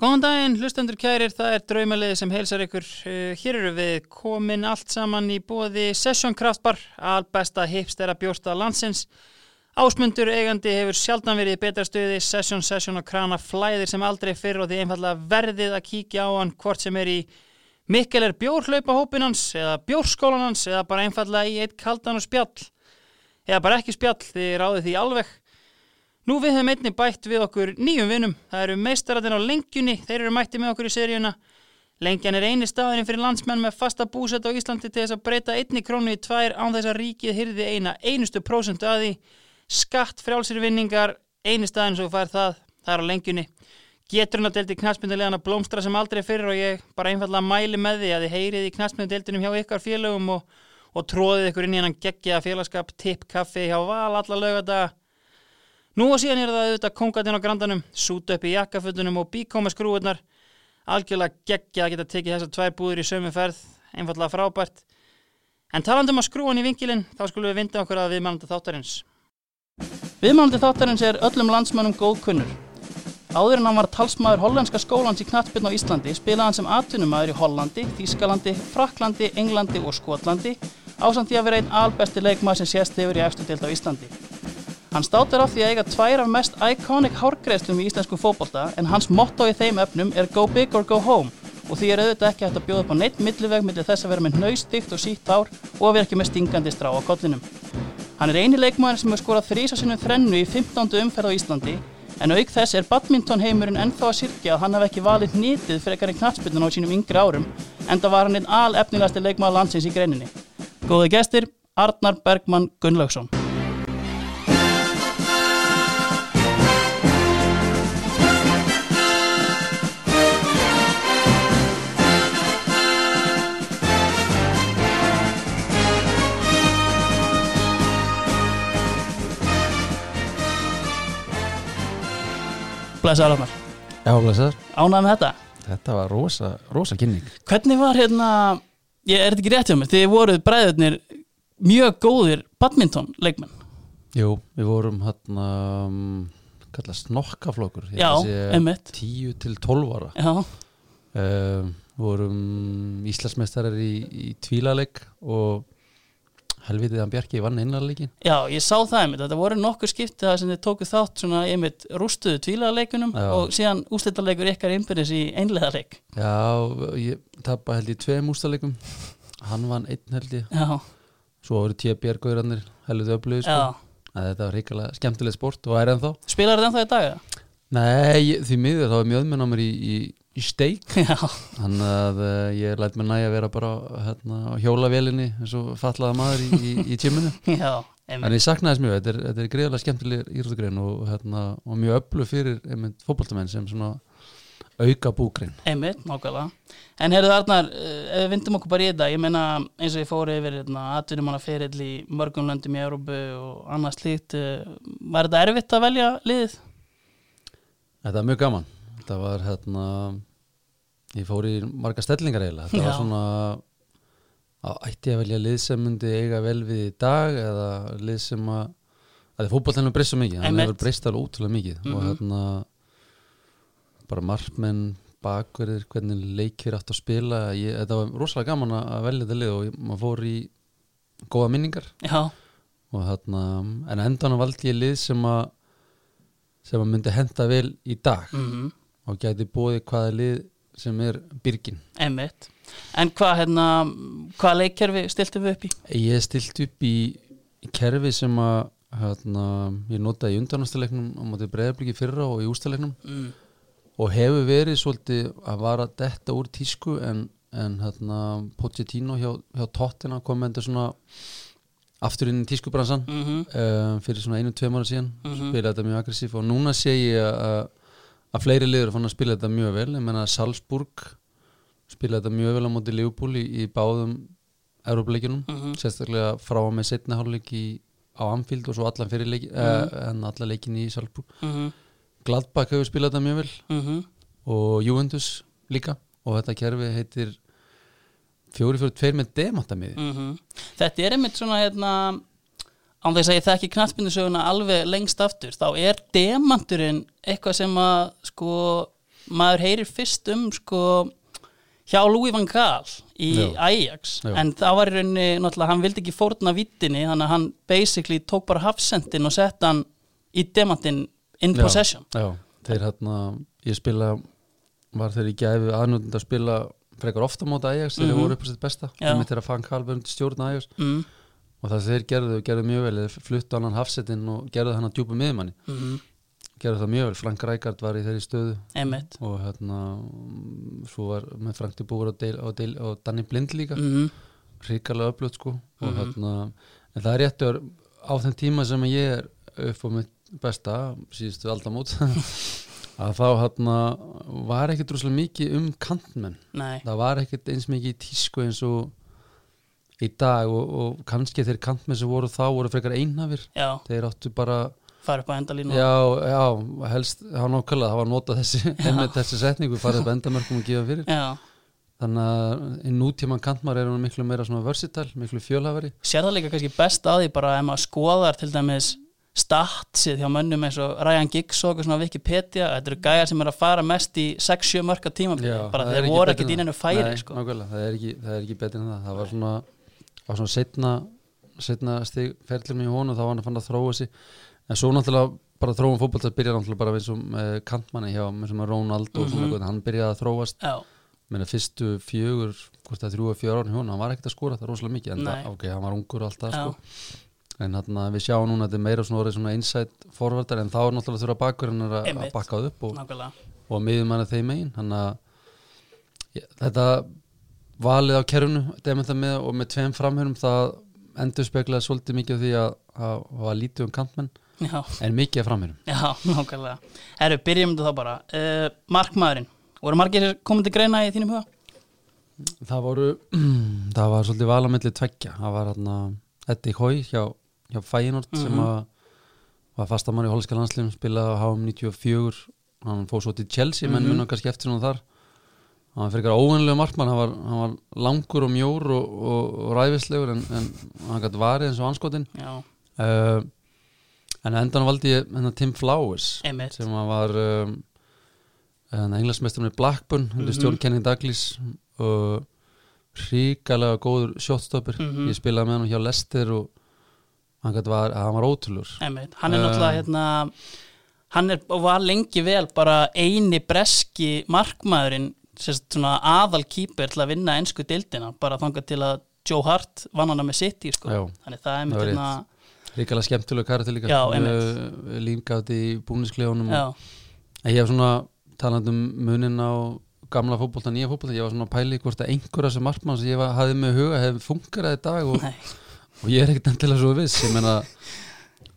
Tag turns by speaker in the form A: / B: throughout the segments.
A: Góðan daginn, hlustendur kærir, það er draumaliði sem heilsar ykkur. Eh, Hér eru við komin allt saman í bóði Session Kraftbar, albesta hipstera bjórsta landsins. Ásmundur eigandi hefur sjaldan verið í betra stuði, Session, Session og Krana flæðir sem aldrei fyrr og því einfallega verðið að kíkja á hann hvort sem er í Mikkel er bjórhlaupahópin hans eða bjórskólan hans eða bara einfallega í eitt kaldan og spjall eða bara ekki spjall, þið ráðið því alveg. Nú við höfum einni bætt við okkur nýjum vinum. Það eru meistararnir á lengjunni, þeir eru mætti með okkur í seríuna. Lengjan er eini staðurinn fyrir landsmenn með fasta búsett á Íslandi til þess að breyta einni krónu í tvær án þess að ríkið hyrði eina einustu prósentu að því. Skatt frjálsir vinningar, eini staðin svo fær það, það er á lengjunni. Getrunardeldi knastmyndulegana blómstra sem aldrei fyrir og ég bara einfallega mæli með því að þið heyrið í knastmyndudeldinum hjá ykkar félögum og, og tróðið ykkur inn í hennan geggja félagskap, tipp, kaffi hjá val alla lögadaga. Nú og síðan eru það auðvitað kongatinn á grandanum, sút upp í jakkafutunum og bíkóma skrúurnar. Algjörlega geggjað að geta tekið þessar tvær búður í sömu ferð, einfallega frábært. En talandum að skrúan í vingilinn, þá skulum við vinda okkur að viðmælandi þáttarins. Viðmælandi þáttarins er öllum landsmönnum góð kunnur. Áður en hann var talsmaður hollenska skólans í knattbyrn á Íslandi spilaði hann sem atvinnumaður í Hollandi, Þískalandi, Fraklandi, Englandi og Skotlandi ásamt því að vera einn albesti leikmaður sem sést hefur í efstu deild á Íslandi. Hann státar af því að eiga tvær af mest iconic hárgreðslum í íslensku fótbolta en hans motto í þeim efnum er Go big or go home og því er auðvitað ekki hægt að bjóða upp á neitt milliveg millir þess að vera með hnaustíkt og sítt hár og að vera ekki með stingandi strá á kollinum. Hann er eini leikmaður sem hefur skorað þrísa sinnum þrennu í 15. umferð á Íslandi en auk þess er badmintonheimurinn ennþá að sirkja að hann hafi ekki valið nýtið fyrir ekkar en knattspilnun á sínum yngri árum en það var hann einn alefnilegasti leikmaður landsins í greininni. Góði gestir, Arnar Bergmann Gunnlaugsson. Blessaður Arnar.
B: Já, blessaður.
A: Ánægð með þetta.
B: Þetta var rosa, rosa kynning.
A: Hvernig var hérna ég er þetta ekki rétt hjá mér, þið voruð bræðurnir mjög góðir badminton leikmenn,
B: Jú, við vorum hann um, kalla snokkaflokkur. Ég
A: Já,
B: held að sé
A: einmitt.
B: 10 til 12 ára.
A: já,
B: Um, vorum Íslandsmeistarar í, í tvílaleik og helvitið hann Bjarki vann innanleikin.
A: já, ég sá það einmitt þetta voru nokkur skipti það sem þið tókuð þátt svona einmitt rústuðu tvílaðarleikunum
B: Já.
A: og síðan úslitaleikur ykkar innbyrðis í einleðarleik,
B: Já, ég tappa held ég tveim ústaleikum. Hann vann einn held ég.
A: já,
B: Svo voru tíu bjargauðrannir helvitið öflugir.
A: já
B: Sko. Að Þetta var hrikalega skemmtileg sport og er ennþá.
A: spilar þetta ennþá í dag? eða?
B: Nei, ég- því miður þá er mjög öðmenn á mér í, í, í steik.
A: Já,
B: Þannig að eh, ég læt mér næja að vera bara hérna, á hjólavélinni eins og fallaða maður í, í, í tíminu.
A: já,
B: En
A: einmitt
B: ég saknaði þess mjög, þetta er, þetta er greiðlega skemmtileg íþróttagrein og, hérna, og mjög öflu fyrir einmitt fótboltamenn sem svona auka búgrein.
A: Einmitt, nákvæmlega. En heyrðu Arnar, eh, ef við vindum okkur bara í þetta, ég meina eins og ég fór yfir atvinnumanna ferill í mörgum löndum í Európu og annað slíkt, eh, var þetta erfitt að velja liðið?
B: Þetta er mjög gaman. Þetta var hérna, ég fór í marga stellingar eiginlega. Þetta
A: Já.
B: var svona, að ætti ég að velja lið sem myndi eiga vel við í dag eða lið sem að, að því fótboltanum breyst svo mikið, hann
A: Einmitt. Mhm.
B: hefur breyst alveg útrúlega mikið og hérna, bara markmenn, bakverðir, hvernig leikir átt að spila. Ég, þetta var rosalega gaman að að velja þetta lið og ég- maður fór í góða minningar
A: Já,
B: og þarna, en á endanum valdi ég lið sem að sem að myndi henda vel í dag
A: mhm,
B: og gæti bóði hvaða lið sem er byrgin.
A: einmitt. En hvað hérna, hvað leikkerfi stiltum við upp í?
B: Ég stilt upp í kerfi sem að hérna, ég notaði í undanástaleiknum á móti breyðabliki fyrra og í ústaleiknum
A: Mm.
B: og hefur verið svolítið að vara detta úr tísku en, en hérna, Pochettino hjá, hjá Tottina kom með þetta svona aftur inn í tískubransan
A: Mm
B: uh, fyrir svona einu, tveim ára síðan
A: mhm,
C: Mm.
B: spilaði þetta mjög aggressíf og núna sé ég að, að fleiri liður er fann að spila þetta mjög vel ég menna Salzburg spilaði þetta mjög vel á móti Liverpool í, í báðum Európa-leikjunum
C: Mm,
A: Mhm.
B: sérstaklega frá og með setna hálfleik í, á Anfield og svo allan fyrir leik, uh, en alla leikin í Salzburg
A: mhm,
B: Gladbach hefur spilað þetta mjög vel
A: mhm,
B: og Juventus líka og þetta kerfi heitir 4-4-2 með demantamiði
A: mhm. Þetta er einmitt svona hérna, án þess að ég þekki knattbindusöguna alveg lengst aftur, þá er demanturinn eitthvað sem að sko
C: maður heyrir fyrst um sko hjá Louis van Gaal í
B: Já.
C: Ajax
B: Já.
C: en það var í rauninni, náttúrulega, hann vildi ekki fórna vittinni þannig að hann basically tók bara hafsendin og sett hann í demantinn in
B: Já,
C: possession
B: já, þeir hérna, ég spila var þeir í gæfi aðnjóðund að spila frekar ofta móta Ajax þegar
C: Mhm.
B: þeir voru upp á sitt besta
C: Já.
B: þeir mitt er að fann Kalbund stjórna Ajax
C: mm,
B: og það sem þeir gerðu, gerðu mjög vel þeir fluttu annan hafsettinn og gerðu hann að djúpa miðmanni
C: mm,
B: gerðu það mjög vel, Frank Rækard var í þeirri stöðu
C: einmitt
B: og hérna svo var með Frank de Boer og, Deil, og, Deil, og Danny Blind líka
C: mm,
B: ríkalega upplöð sko og
C: Mhm.
B: hérna, en það er réttur á þeim tíma sem ég er upp á mitt besta, síðustu aldamót að þá hérna var ekkit droslega mikið um kantmenn
C: nei,
B: það var ekkit eins mikið í tísku eins og í dag og, og kannski þeir kantmenn sem voru þá voru frekar einhafir
C: já,
B: þeir áttu bara,
C: fara upp á endalínu
B: já, já helst, það var nákvæmlega, það var notað þessi einmitt þessi setningu, farið bendamörkum og gefa fyrir
C: já.
B: þannig að í nútíman kantmar er hann miklu meira svona versatile, miklu fjölhafari
C: sér það líka kannski best að því bara ef maður skoðar til dæmis statsið hjá mönnum eins og Ryan Giggs og eitthvað svona Wikipedia, þetta eru gæjar sem eru að fara mest í 6-7 mörka tímabili
B: Já,
C: bara
B: það er
C: þeir voru
B: betra
C: ekkert í
B: en
C: neinu
B: það.
C: færi
B: Nei,
C: sko.
B: nákvæmlega, það er ekki, það er ekki betur en það það var svona, var svona setna setna stig ferlum í honum þá var hann að fann að þróa sig en svo náttúrulega bara þróum fótbolt að byrja náttúrulega bara eins og eh, kantmanni hjá eins og með Ronald og svona
C: Mhm.
B: eitthvað, hann byrjaði að þróast
C: já,
B: meina fyrstu fjögur, hvort það er þrjú að fjögur ára hjá honum, hann var ekkert að skora það rosalega mikið en það,
C: Nei.
B: ok, hann var ungur og allt það
C: já,
B: sko en þarna við sjáum núna að þetta er meira svona orðið svona insight forvardar en þá er náttúrulega þurfa bakverðin að, að
C: Einmitt.
B: bakka það upp og,
C: nákvæmlega
B: og miðum hann að þeim megin þannig að ég, þetta valið á kerfinu dementa með og með tveim framhörum það endur speklaði svolítið mikið af því að það var lítið um kantmenn
C: já,
B: en mikið af framhörum
C: já, nákvæmlega herru, byrjum þetta þá bara uh, markmaðurinn, voru margir komandi greina í þínum huga?
B: það voru það var svolítið valamilli tveggja það var hann að Eddi Hói hjá, hjá Fæinort sem
C: Mhm.
B: að var fastamann í holska landsliðum spilaði á HM 94 hann fóð svo til Chelsea menn
C: Mhm.
B: munum kannski eftir hann þar hann var frekar óvenlega markmann hann var, hann var langur og mjór og, og, og ræfislegur en, en hann gætt varið eins og anskotin
C: já,
B: uh, en á endan valdi ég hennar Tim Flowers
C: einmitt
B: sem að var um, englansmesturinn í Blackburn hann er
C: Mhm.
B: stjórn Kenny Douglas og ríkalega góður shotstopper
C: Mhm.
B: ég spilaði með hann hjá Lester og hann, gat var, hann var ótrúlur
C: Einmitt. hann er
B: Um,
C: náttúrulega hérna hann er, og var lengi vel bara eini breski markmaðurinn sérst, svona aðal kýper til að vinna ennsku deildina, bara þangað til að Joe Hart vann hana með City sko.
B: Já.
C: þannig það er
B: Það
C: einmitt
B: var
C: hérna
B: ríkalega skemmtilega karakter líka
C: Já,
B: límgátt í búnisklefunum
C: já,
B: og- en ég hef svona talandi um munin á gamla fótbolta, nýja fótbolta, ég var svona að pæli hvort að einhverja sem markmann sem ég var, hafði með huga hefði fungerað í dag og,
C: nei,
B: og ég er ekkert endilega svo viss ég meina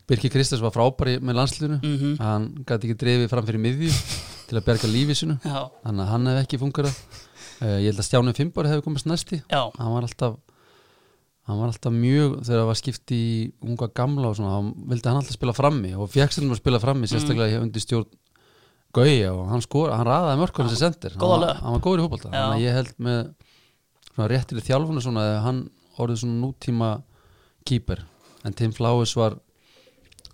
B: Birkir Kristins var frábæri með landslíðinu
C: mm
B: hann gæti ekki drefið fram fyrir miðju til að berga lífið sinu
C: já,
B: þannig að hann hef ekki fungerað uh, ég held að Stjáni Fimbar hefði komast næsti
C: já,
B: hann var alltaf hann var alltaf mjög þegar það var skipt í unga gamla og svona, hann vildi hann alltaf spila frammi og fjekkst hann að spila frammi sérstaklega mm. undir stjórn Gauja og hann skora, hann raðaði mörkunum sem sendir hann
C: góða
B: var,
C: löpp.
B: hann var góður í
C: Já.
B: fótbolta þannig að ég held með svona réttileg þjálfuna svona að hann orðið svona nútíma kýper en Tim Flowers var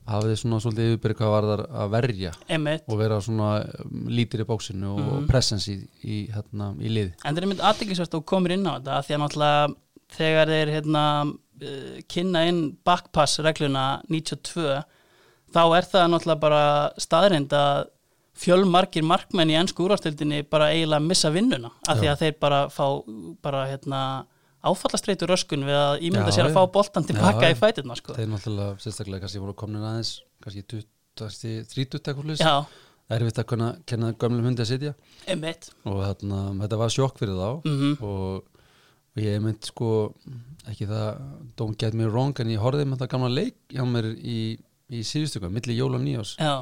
B: hafði svona svolítið yfirbyrg hvað var þar að verja
C: einmitt
B: og vera svona um, lítir í bóksinu og, og presens í, í, hérna, í liði
C: En það er mynd aðdeglisvært og komir inn á þetta af því að náttúrulega þegar þeir hérna, uh, kynna inn backpass regluna 92 þá er það náttúrulega bara staðrind að fjölmargir markmenn í ennsku úrvastildinni bara eiginlega missa vinnuna af því
B: Já.
C: að þeir bara fá bara hérna áfallastreitu röskun við að ímynda
B: Já,
C: sér að
B: já.
C: fá boltan tilbaka
B: Já,
C: í fætirna sko.
B: þeir náttúrulega sérstaklega kannski voru komnir aðeins kannski 20, 30 ekkurlis
C: Já,
B: erfitt að kunna kenna gömlum hundi að sitja
C: einmitt
B: og þarna, þetta var sjokk fyrir þá
C: Mhm.
B: og, og ég mynd sko ekki það, don't get me wrong en ég horfði með það gamla leik hjá mér í, í síðustöku, milli jól og nýjás
C: Já,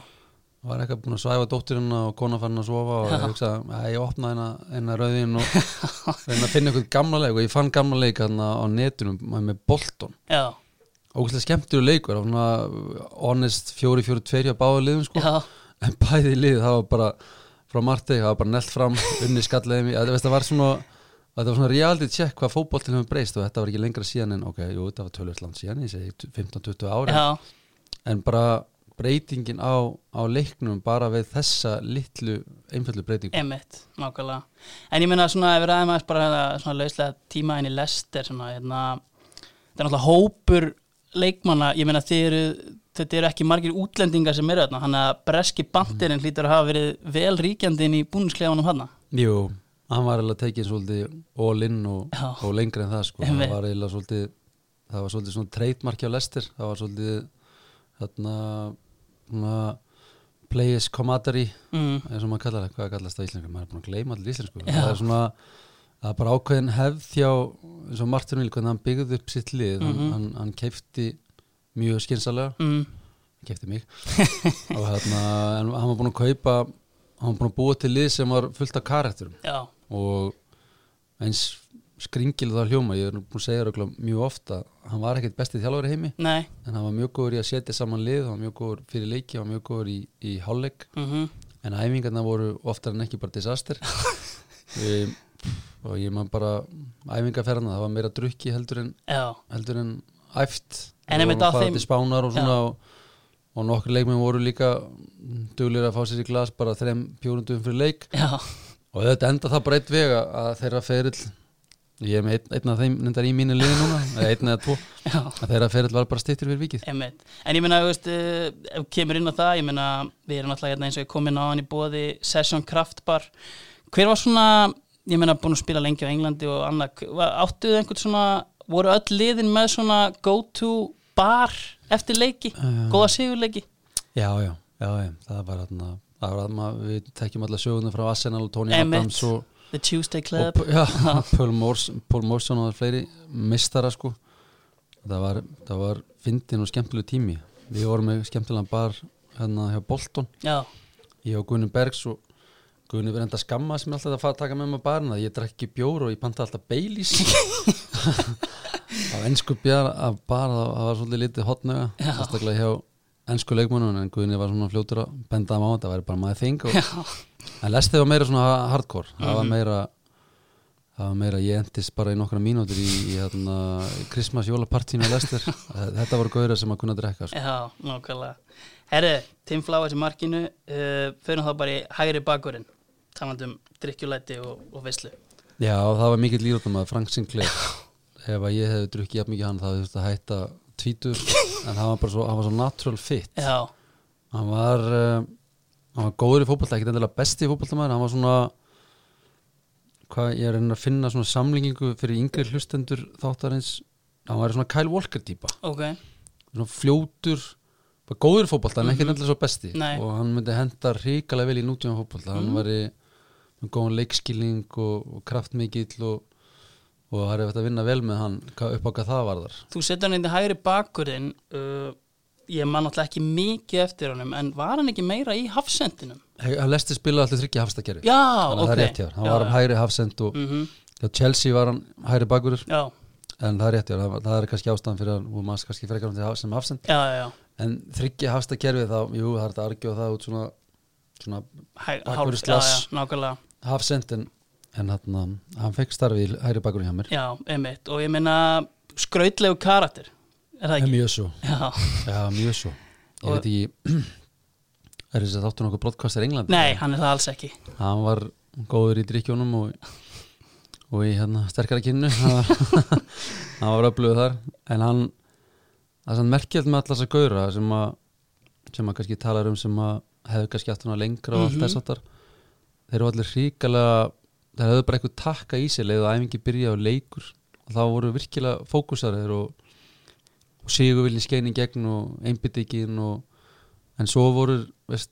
B: var eitthvað búin að svæfa dótturina og kona fann að sofa og ég hugsaði að ég opna hennar hennar rauðin og reyna að finna eitthvað gamla leik og ég fann gamla leik hérna á netunum með bolton
C: já,
B: ógæslega skemmtur leikur og svona honest 4-4-2 á báðu liðum sko
C: já,
B: en bæði lið það var bara frá Marti, það var bara nelt fram unni skalliðum, það veist, það var svona þetta var svona reality check hvað fótboltin hefur breyst og þetta var ekki lengra síðan en ok, jú, þetta var tölvöld land síðan ég segi 15-20 ári
C: já,
B: en bara breytingin á, á leiknum bara við þessa litlu einföldu breytingu
C: Emmett, nákvæmlega En ég meina svona, ef við ræðum aðeins bara hérna, svona lauslega tíma inn í lester svona, hérna, þetta er náttúrulega hópur leikmanna, ég meina þið eru þetta eru ekki margir útlendingar sem eru þarna þannig að breski bandirinn hlýtur að hafa verið vel ríkjandi inn í búnusklefanum hann
B: Jú, hann var eiginlega tekið svolítið all in og,
C: Já.
B: og lengri en það sko,
C: Einmitt.
B: það var eiginlega svolítið það var svolítið svona treytmarki á lestir það var svolítið þarna, svona players camaraderie
C: mm.
B: eins og maður kallar það, hvað kallast það á íslensku maður er búin að gleyma allir íslensku
C: Já.
B: það er svona, það er bara ákveðin hefð hjá eins og Martin Vil, hvernig hann byggði upp sitt lið
C: Mhm.
B: hann, hann, hann keipti mjög skynsalega,
C: Mm.
B: keipti mig og hérna, en hann var búin að kaupa hann var búin að búa til lið sem var fullt af karakterum
C: Já,
B: og eins skringil það hljóma, ég er nú búin að segja röglega mjög ofta, hann var ekkert bestið þjálfari í heimi
C: nei
B: en hann var mjög góður í að setja saman lið hann var mjög góður fyrir leiki, hann var mjög góður í, í hálfleik
C: mm
B: en æfingarna voru oftar en ekki bara disaster um, og ég man bara æfingarferðna, það var meira drukki heldur en,
C: Já,
B: heldur en æft
C: En
B: Við
C: einmitt
B: vorum
C: á
B: að fara
C: þeim-
B: til spánar og svona og, og nokkur leikmenn voru líka duglir að fá sér í glas bara þreim fjórundum fyrir leik
C: já,
B: og þetta enda það bara eitt veg að- að þeirra ferill ég er með einn, einn af þeim nendar í mínu liði núna eða einn eða tvo,
C: já
B: að þeirra ferill var bara stittir fyrir vikið
C: Einmitt. En ég meina, þú veist, eh, ef kemur inn á það, ég meina, við erum alltaf hérna eins og ég kom inn á hann í bóði Session Craft Bar. Hver var svona, ég meina, búin að spila lengi á Englandi og annað, áttuðu einhvern svona, voru öll liðin með svona go-to bar eftir leiki,
B: Eh.
C: góða sigurleiki?
B: Ehm, Já, já, já, já, það var þarna það var þarna, við tekjum alla söguna frá Arsenal og Tony
C: Emmett
B: Adams og,
C: The Tuesday
B: og
C: Club?
B: já, Paul, Mors, Paul Morson og það er fleiri mistara sko það var, það var fyndin og skemmtileg tími við vorum með skemmtilegan bar hérna hjá Bolton,
C: Já,
B: ég og Gunni Bergs og Gunni verið enda skamma sem alltaf að fara að taka með mig á barna, ég drekki bjór og ég panta alltaf Baileys á ennsku bjar af bar það það var svolítið litið hotnöga
C: Já.
B: sérstaklega hjá ennsku leikmönnum en Guðinni var svona fljótur að benda þeim á þetta væri bara maður þing og, en lestið var meira svona hardcore það var meira það var meira ég endist bara í nokkra mínútur í, í hérna Christmas jólapartínu að lestir þetta voru gauðra sem að kunna að drekka sko.
C: já, nákvæmlega. Herru, Tim Flowers í markinu, uh, förum þá bara í hægri bakurinn, talandum drikkjulæti og, og veislu.
B: já það var mikill líróttum að Frank Sinclair ef að ég hefði drukkið jafn mikið hann það þurfti að hætta tvítur en hann var bara svo, hann var svo natural fit
C: Já,
B: hann var uh, hann var góður í fótbolta, ekkert endilega besti í fótbolta maður, hann var svona hvað, ég er að reyna að finna svona samlingingu fyrir yngri hlustendur þáttarins hann var svona Kyle Walker típa
C: ok.
B: svona fljótur, bara góður í fótbolta en ekkert endilega svo besti
C: Mhm. Nei. Mhm.
B: og hann myndi henda ríkalega vel í nútíðan fótbolta hann var í með góðan leikskilning og, og kraftmikill og, og það er eftir að vinna vel með hann hvað- upp á hvað það varðar
C: Þú setur hann í hægri bakurinn uh, ég man náttúrulega ekki mikið eftir honum en var hann ekki meira í hafsendinum?
B: He- hann lesti spila allir þryggja hafstakeri
C: Já,
B: þannig að
C: ok
B: það er rétt hjá, þér. hann
C: já,
B: var um hægri hafsend og
C: mm
B: Já, Chelsea var hann hæri bakurur
C: já,
B: en það er rétt, já, það, það er kannski ástæðan fyrir að hún maður kannski frekar hann til haf- sem hafsend
C: já, já, já.
B: en þryggja hafsta kerfið þá, jú, það er þetta að argjóða það út svona, svona
C: Hæg,
B: Bakvörður
C: hálf- já, já,
B: slash.
C: nákvæmlega
B: hafsend en, en hann, hann fekk starfi í hæri bakurur hjá mér
C: Já, einmitt, og ég meina skrautlegu karakter, er það
B: En
C: ekki?
B: mjög svo,
C: Já,
B: já, mjög svo ég
C: Og-
B: veit ekki er þess að þáttur nokkuð broadcaster í Englandi
C: nei, hann er það alls ekki
B: hann var góður í drikkjónum og, og í hérna sterkara kynnu hann var- hann var öflugur þar en hann það er sann merkjöld með allas að gaura sem að sem að kannski talar um sem að hefðu kannski aftur hana lengra og allt
C: Mhm.
B: þess aftar þeir eru allir ríkalega þeir hefðu bara eitthvað takka í sig leið að æfingi byrja á leikur og þá voru virkilega fókusarðir og, og sigurvilin skein í gegn og einbyttingin og en svo voru veist,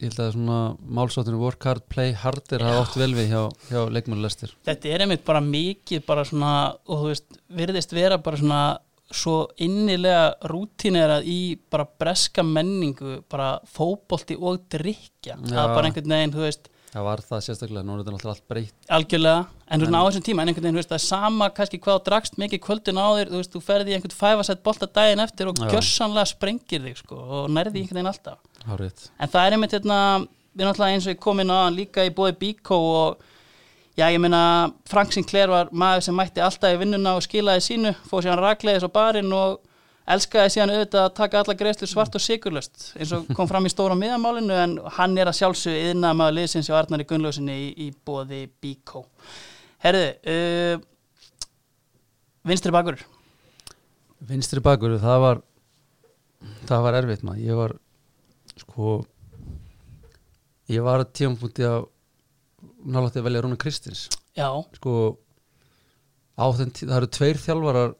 B: ég held að svona málsáttinu work hard, play hard er það oft vel við hjá, hjá leikmannlestir
C: Þetta er einmitt bara mikið bara svona, og þú veist, virðist vera bara svona svo innilega rútinera í bara breska menningu, bara fótbolti og drikja, það er
B: Já.
C: bara einhvern veginn, þú veist,
B: það var það sérstaklega, nú er þetta náttúrulega allt breytt
C: algjörlega, en svona á þessum tíma en einhvern veginn, þú veist, það er sama kannski hvað þú drakst mikið kvöldin áður, þú veist, þú ferði í einhvern fæfasett bolta daginn eftir og
B: Já.
C: gjörsanlega sprengir þig, sko, og nærði einhvern veginn alltaf
B: Hárið.
C: en það er einmitt hérna við náttúrulega eins og ég kom inn á hann líka í bóði Bíkó og já ég meina Frank Sinclair var maður sem mætti alltaf í vinnuna og skilaði sínu fóð sér hann rakleiðis á barinn og elskaði síðan auðvitað að taka alla greiðslur svart og sigurlöst eins og kom fram í stóra miðamálinu en hann er að sjálfsögðu yðna maður liðsins og Arnari Gunnlausinni í, í bóði Bíkó Herðu uh, Vinstri bakur
B: Vinstri bakur, það var það var erfitt maður ég var sko ég var að tímapunkti að nálætti að velja Rúna Kristins
C: Já,
B: sko á þeim tí- það eru tveir þjálfarar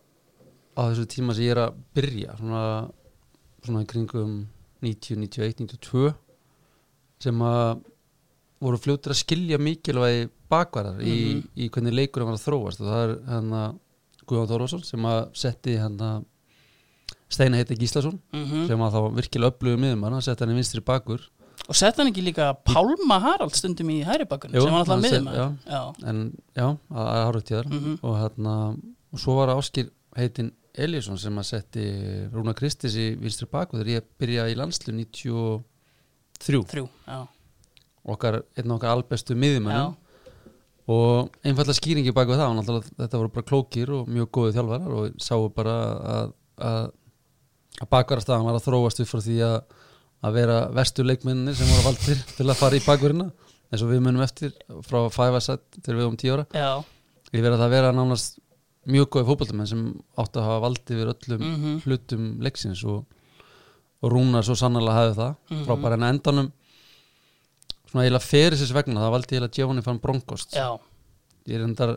B: á þessu tíma sem ég er að byrja svona, svona í kringum 90, 91, 92 sem að voru fljótur að skilja mikilvægi bakvarar
C: Mhm.
B: í, í hvernig leikurinn var að þróast og það er hann að Guðjón Þorvarsson sem að setti hann að Steina heiti Gíslason
C: mm
B: sem að þá virkilega upplöfu miðum hann að setja hann í vinstri bakur
C: og sett hann ekki líka Pálma Harald stundum í hæri bakunum
B: Jú,
C: sem var alltaf
B: hann set-
C: miðum
B: já.
C: já.
B: en já, það er hárið tíðar
C: Mm
B: og hérna og svo var Áskir heitinn Elísson sem að setti Rúna Kristis í vinstri baku þegar ég byrjaði í landslu 93
C: Þrjú, já,
B: okkar, einn af okkar albestu
C: já.
B: miðjumennum og einfalla skýringi baku það var náttúrulega að þetta voru bara klókir og mjög góðu þjálfarar og sáu bara að, að, að bakvarastafan var að þróast upp frá því að, að vera vestu leikmennir sem voru valdir til að fara í bakverina eins og við munum eftir frá 5-7 til við um 10 ára
C: já.
B: ég verið að það vera nánast mjög góði fótballtamenn sem átti að hafa valdi við öllum
C: Mhm.
B: hlutum leiksins og, og Rúnar svo sannlega hafði það
C: Mhm.
B: frábæra en að endanum svona eiginlega fyrir sérs vegna það valdi eiginlega Giovanni fann Bronkost
C: já.
B: ég er endar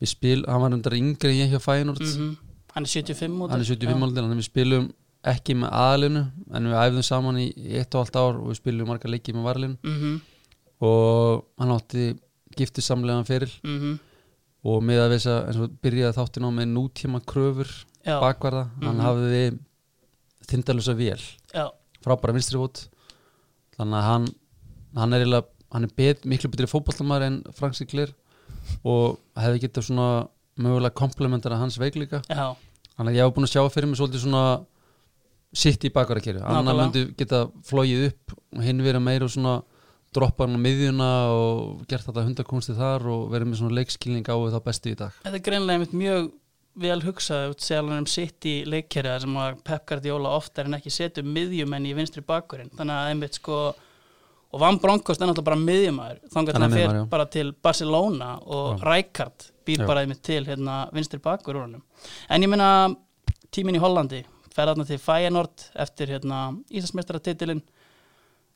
B: við spil, hann var endar yngri en ég hjá Feyenoord
C: mhm. Hann er 75 út
B: hann er 75 áldin, hann er við spilum ekki með aðalinu en við æfðum saman í í eitt og allt ár og við spilum marga leiki með varalinu
C: Mhm,
B: og hann átti giftisamlegan fyrir
C: mhm,
B: og með að veisa eins og byrjaði þáttin á með nútíma kröfur
C: Já.
B: bakvarða, hann
C: Mhm.
B: hafði þindalusa vél,
C: já,
B: frábæra vinstrifót þannig að hann hann er, eiginlega, hann er bet, miklu betri fótballtamaður en Frank Sigler og hefði getað svona mögulega komplementara hans veikleika
C: já,
B: þannig að ég hef búin að sjá fyrir mig svolítið svona sitt í bakvarðakerju, annar
C: Nákvæmlega.
B: myndi geta flogið upp og hinn verið meira svona droppa hann á miðjuna og gert þetta hundakunsti þar og verið með svona leikskilning á við þá bestu í dag
C: Þetta er greinlega einmitt mjög vel hugsað út segjalanum um sitt í leikkerja sem að Pep Guardiola oftar en ekki setur miðjumenn í vinstri bakkurinn þannig að einmitt sko og Van Bronckhorst er náttúrulega bara miðjumæður þannig að
B: Hann er
C: hann fer
B: miðjumaður, já.
C: bara til Barcelona og
B: Já.
C: Rijkaard býr
B: Já.
C: bara einmitt til hérna vinstri bakkur úr honum en ég meina tíminn í Hollandi fer þarna til Feyenoord eftir hérna Íslandsmeistaratitilinn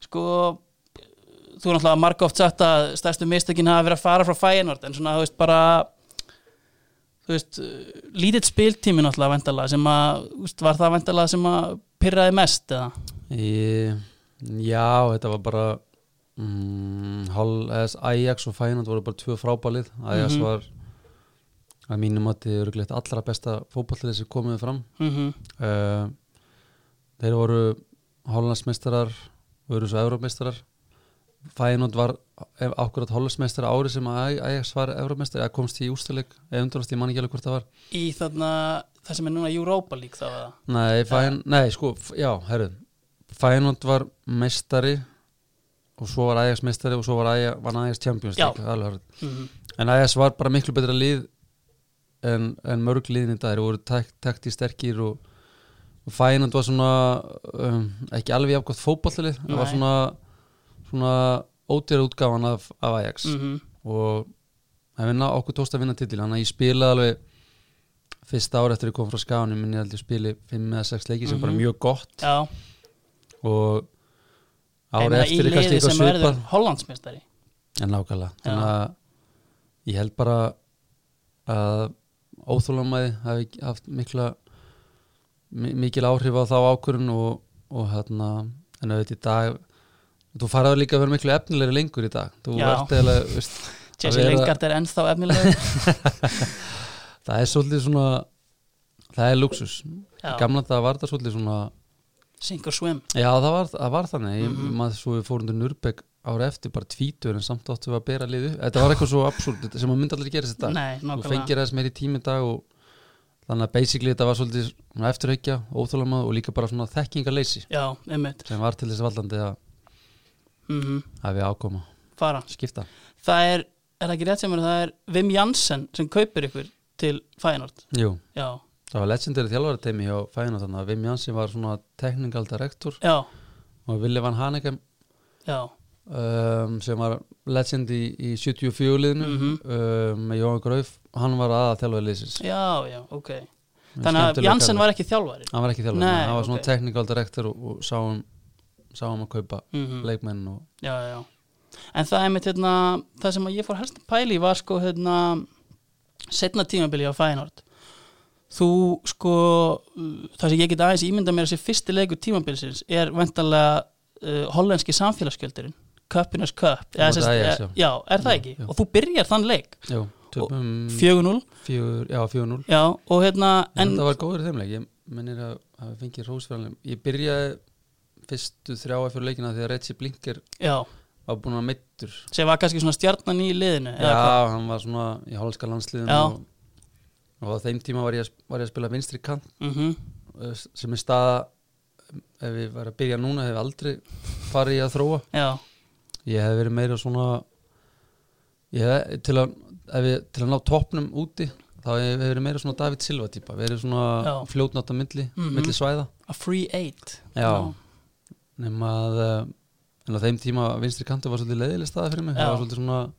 C: sko þú er náttúrulega marga oft sagt að stærstu mistökin hafa verið að fara frá Feyenoord en svona þú veist bara þú veist, uh, lítill spiltími náttúrulega vendalega sem að þú veist, var það vendalega sem að pyrraði mest eða?
B: Í, já, þetta var bara mm, Hall, S, Ajax og Feyenoord voru bara tvö frábælið Ajax
C: Mhm.
B: var að mínum að þið eru glætt allra besta fótballið sem komiðu fram
C: Mm -hmm.
B: uh, Þeir voru Hollandsmeistarar og eru svo Európmeistarar Feyenoord var ef- akkurat Hollandsmeistara ári sem að Ajax var Európmeistari eða komst í ústileg eða undurast ég man ekki alveg hvort það var
C: í þarna það sem er núna Europa League þá eða?
B: Nei, fæn, nei sko, f- já, herru Feyenoord var meistari og svo var Ajax meistari og svo var Ajax, var Ajax Champions
C: Já.
B: League það er alveg hárrétt.
C: Mm -hmm.
B: En Ajax var bara miklu betra lið en, en mörg liðin í dag þeir voru tak, takti sterkir og, og Feyenoord var svona um, ekki alveg jafngott fótballið það var
C: Nei.
B: svona, svona ódýra útgáfan af, af Ajax
C: Mm -hmm.
B: og að vinna, okkur tókst að vinna titil þannig að ég spilaði alveg fyrsta ári eftir ég kom frá skáinu minn ég held ég spili 5 eða 6 leiki sem
C: Mhm.
B: bara mjög gott
C: já,
B: og
C: Ég
B: ári
C: meina,
B: eftir
C: í
B: er kannski
C: liði
B: eitthvað
C: sem verður
B: svipað
C: Hollandsmeistari
B: en nákvæmlega þannig að ég held bara að óþólamæði hafi haft mikla mi- mikil áhrif á þá ákvörun og, og hérna en auðvitað í dag þú faraður líka að vera miklu efnilegri lengur í dag þú
C: Já.
B: ert eða veist,
C: Jesse
B: vera-
C: Lingard er ennþá efnilegur
B: það er svolítið svona það er luxus
C: Já.
B: gamla þetta var það svolítið svona
C: sink or swim
B: já það var, það var þannig mm
C: Mhm.
B: maður svo við fórum til Nürnberg ára eftir bara tvítur en samt áttu við að bera liðu þetta var eitthvað svo absúrt þetta sem maður myndi allir gera þetta
C: Nei,
B: þú
C: nákvæmlega
B: fengir aðeins meiri tími í dag og þannig að basically þetta var svolítið svona eftirhaukja, óþólamað og líka bara svona þekkingarleysi
C: Já, einmitt
B: sem var til þess valdandi að,
C: mm
B: að við ákoma
C: Fara
B: skipta
C: Það er, er það ekki rétt sem er það er Vim Jansen sem kaupir ykkur til Feyenoord
B: Jú,
C: Já,
B: Það var legendary þjálfara teimi hjá fæðina þannig að Vim Jansi var svona teknikal direktor
C: já,
B: og Willi Van Hanegem
C: já,
B: um, sem var legend í, í 74 liðinu
C: Mhm.
B: um, með Jóhann Grauf, hann var aða þjálfari liðsins
C: já, já, ok Þannig að Jansen var ekki þjálfari
B: Hann var ekki þjálfari,
C: Nei,
B: nei, hann var svona
C: ok.
B: teknikal direktor og, og sáum, sáum að kaupa
C: mm
B: leikmenn og
C: já, já. En það er mitt hérna, það sem að ég fór helst að pæli var sko hérna setna tímabili á Feyenoord þú sko uh, það sem ég get aðeins ímynda mér að þessi fyrsti leikur tímabilsins er vendalega uh, hollenski samfélagsgjöldurinn Köpinars Köp
B: Móti Ajax, já.
C: eh, já, er það ekki?
B: já. Mm.
C: Og þú byrjar þann leik
B: já, töpum
C: 4-0
B: fjögur, já, 4-0
C: já, og hérna
B: en
C: en,
B: það var góður í þeim leik, ég mennir að að við fengið rósfjörðanleim, ég byrjaði fyrstu þrjáa fyrir leikina þegar Reggie Blinker
C: já,
B: var búin að meittur
C: sem var kannski svona stjarnan í liðinu
B: já,
C: eða hvað?
B: hann var svona í hálska landsliðinu
C: Já.
B: og, og á þeim tíma var ég, að- var ég að spila vinstri kant
C: Mhm.
B: eh, sem er staða ef ég var að byrja núna hef ég aldrei farið í að þróa
C: já,
B: ég hef verið meira svona ég hef til að, ef ég, til að ná toppnum úti þá hef ég verið meira svona David Silva típa verið svona
C: Já.
B: fljótnátt á milli,
C: Mhm.
B: milli svæða
C: a free eight
B: Já. nema að eh, en á þeim tíma vinstri kantu var svolítið leiðileg staða fyrir mig
C: Já.
B: það var svolítið svona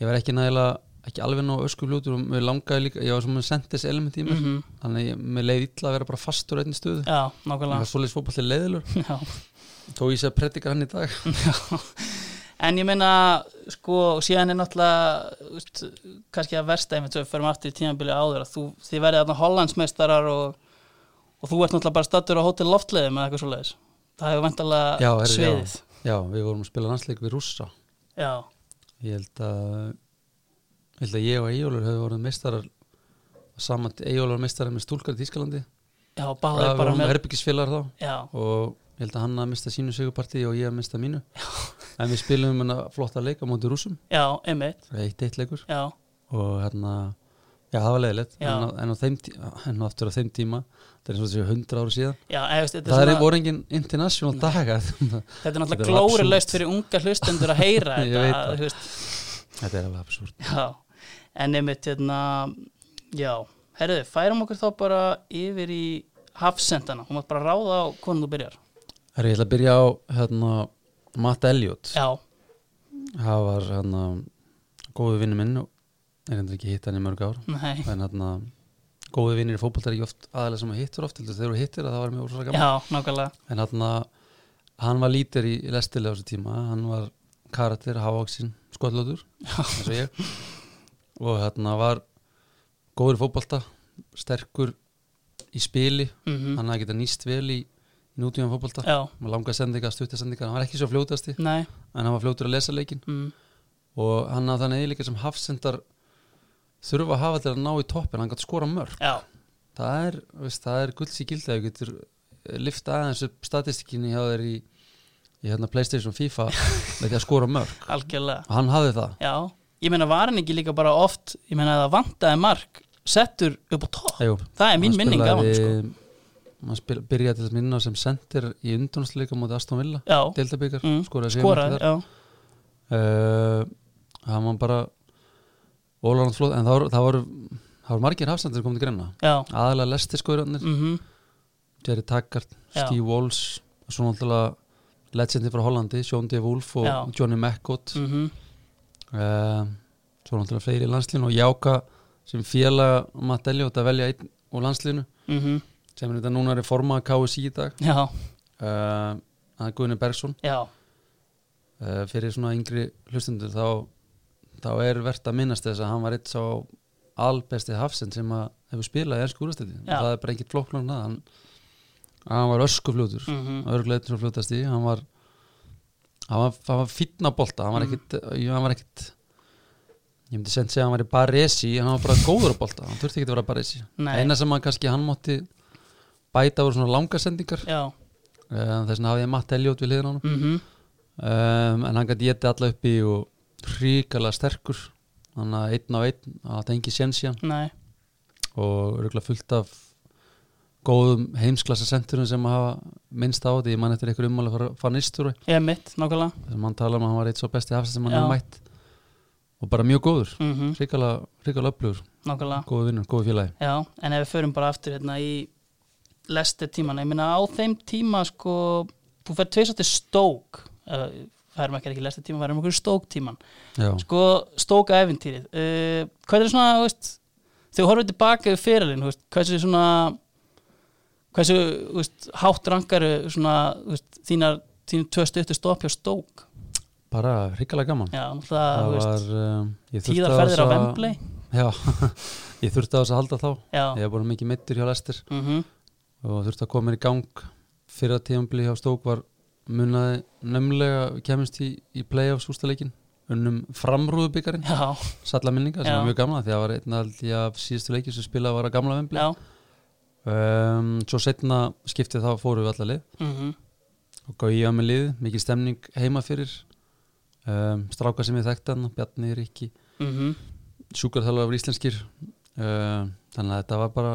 B: ég var ekki nægilega ekki alveg nóg öskufljótur og mér langaði líka ég var svona sentis element í mér
C: Mhm.
B: þannig ég- mér leiði illa að vera bara fastur á einni stöðu
C: já,
B: ég
C: nákvæmlega
B: var svolítið fótballið leiðilegur
C: já
B: þó ég sé að predika hann í dag
C: En ég meina, sko, síðan er náttúrulega, úst, kannski að versta einmitt, svo við förum aftur í tímabili áður, að þú, þið verðið þarna hollandsmeistarar og, og þú ert náttúrulega bara stattur á hótel loftleiðum eða eitthvað svoleiðis. Það hefur
B: Já,
C: vantalega
B: herri, já.
C: sviðið.
B: já, við vorum að spila landsleik við rússa
C: Já,
B: ég held að ég held að ég og Eyjólfur hefur voruð meistarar saman Eyjólfur var meistarar með stúlkar í Þískalandi
C: já,
B: við
C: báðið bara
B: vorum
C: með...
B: herbyggisfélagar þá
C: Já,
B: og ég held að hann að mista sínu sigurparti og ég að mista mínu en við spilum um hennar flotta leik á móti rúsum
C: já, einmitt,
B: eitt eitt leikur
C: já,
B: og hérna já það var leiðilegt
C: Já.
B: en, á- en á þeim tíma en aftur á þeim tíma það er eins og þessi hundra ára síðan
C: já, eða, veist, þetta
B: það
C: er
B: er
C: svona,
B: voru engin international daga
C: þetta er náttúrulega
B: þetta er absúrt.
C: glórilaust fyrir unga hlustendur að heyra
B: Ég
C: þetta,
B: veit
C: að,
B: það.
C: þú veist,
B: þetta er alveg absúrt
C: já, en einmitt, hérna, já, herruðu, færum okkur þá bara yfir í hafsendana, hún mátt bara ráða á hvernig þú byrjar.
B: Herru, ég ætla að byrja á hérna Matt Elliot
C: Já,
B: það var hérna góðu vinnu minn og ég reyndar ekki að hitta hann í mörg ár
C: nei,
B: en hérna góðu vinnir í fótbolt er ekki oft aðalega sem að hittur oft heldur þegar þú hittir að það var mjög úrslega gaman
C: já, nákvæmlega
B: en hann, hann var lítir í lestilega á þessu tíma, hann var karakter, hávaksinn, skotlótur eins og ég og hérna var góður í fótbolta sterkur í spili
C: mm
B: hann hafði getað nýst vel í nútíðan fótbolta
C: Já,
B: með langa sendinga, stutta sendinga hann var ekki svo fljótasti,
C: nei
B: en hann var fljótur að lesa leikin
C: mm.
B: og hann hafði þannig eiginleika sem hafsendar þurfa að hafa til að ná í toppin hann gætt skora mörg
C: Já,
B: það er, veist, það er gulds í gildi að þú getur lifta aðeins upp statistikinni hjá þér í, í hérna Playstation FIFA með því að skora mörg
C: algjörlega
B: og hann hafði það
C: Já, ég meina var hann ekki líka bara oft ég meina að það vantaði mark settur upp á topp,
B: Jú,
C: það er mín minning af hann sko.
B: hann spil, byrjaði til að minna sem sendir í undrunsleika móti Aston Villa
C: Já,
B: deildabikar,
C: Mm,
B: skoraði sig
C: skoraði
B: þar
C: já.
B: uh, hann var bara ólarnat flóð, en það voru, það voru það voru margir hafsendur sem komið til greina
C: já,
B: aðalega lesti skoðurarnir,
C: mm
B: Jerry Taggart
C: Já.
B: Steve Walls, svo náttúrulega legendi frá Hollandi, Sjón D. Wolf og
C: Já.
B: Johnny Mackott mm.
C: mhm,
B: svo náttúrulega fleiri í landslínu og Jáka sem félaga Matt Elliot að velja einn úr landslínu
C: mhm,
B: sem er þetta núna er forma KSI í dag
C: Já,
B: uh, að Guðni Bergson
C: já,
B: uh, fyrir svona yngri hlustundur þá, þá er verðt að minnast þess að hann var eitt sá albesti hafsend sem að hefur spilað í ennsku úrastætti
C: Já.
B: það er bara ekkert flokknar en það hann, hann var öskufljótur
C: mhm,
B: örglega einn og fljótast í hann var hann var, hann var fínn að bolta
C: Mm.
B: hann var ekkit, jú, hann var ekkit ég myndi sent segja að hann var í baresi en hann var bara góður að bolta, hann þurfti ekki að vera baresi
C: Nei.
B: eina sem hann kannski hann mátti bæta voru svona langa sendingar
C: já
B: um, þess vegna hafði ég matt Elliot við hliðin á hann
C: mhm,
B: um, en hann gæti getið alla uppi og ríkala sterkur hann að einn á einn, að það engi séns í hann
C: Nei,
B: og örgulega fullt af góðum heimsklassa senturum sem hafa minnst á því, ég man eftir einhver ummála fara, fara nýstur
C: ég mitt, nákvæmlega
B: sem hann tala um að hann var eitt svo besti hafsend sem hann
C: Já.
B: hefur mætt og bara mjög góður
C: mhm,
B: hrikalega hrikalega öflugur
C: nákvæmlega
B: góðu vinnur, góðu félagi
C: Já, en ef við förum bara aftur hérna í lestir tímana, ég meina á þeim tíma sko, þú fær tveist til stók eða færum ekki ekki lestir tíma, færum okkur stók tíman
B: Já,
C: sko, stóka eventýrið uh, hvað er svona, þú veist þegar þú horfum tilbaka yfir fyrirlin, þú veist hversu svona hversu, þú veist, hátt rangaru svona, þú veist, þínar þínu tvö stuttu stopp hjá stók
B: bara hrikalega gaman
C: já, náttúrulega,
B: það
C: þú veist,
B: var, um, ég þurfti
C: tíðar ferðir á
B: þessa-
C: Wembley
B: Já, ég þurfti að þess að halda þá
C: já,
B: Ég hef búin mikið meittur hjá lestir
C: mhm,
B: og þurfti að koma mér í gang fyrir að tíðanbili hjá Stók var munaði nömmlega kemist í, í play-offs ústaleikin unnum framrúðubikarin,
C: já,
B: salla minninga sem
C: Já.
B: var mjög gamla því að það var einn allt í af síðustu leikin sem spilaði var að gamla vembli
C: já
B: um, svo setna skiptið þá fórum við alla lið
C: mhm,
B: og gauði á með lið, mikið stemning heima fyrir um, stráka sem ég þekkti hann, Bjarni Ríkki
C: mhm
B: sjúkarþálar af íslenskir um, þannig að þetta var bara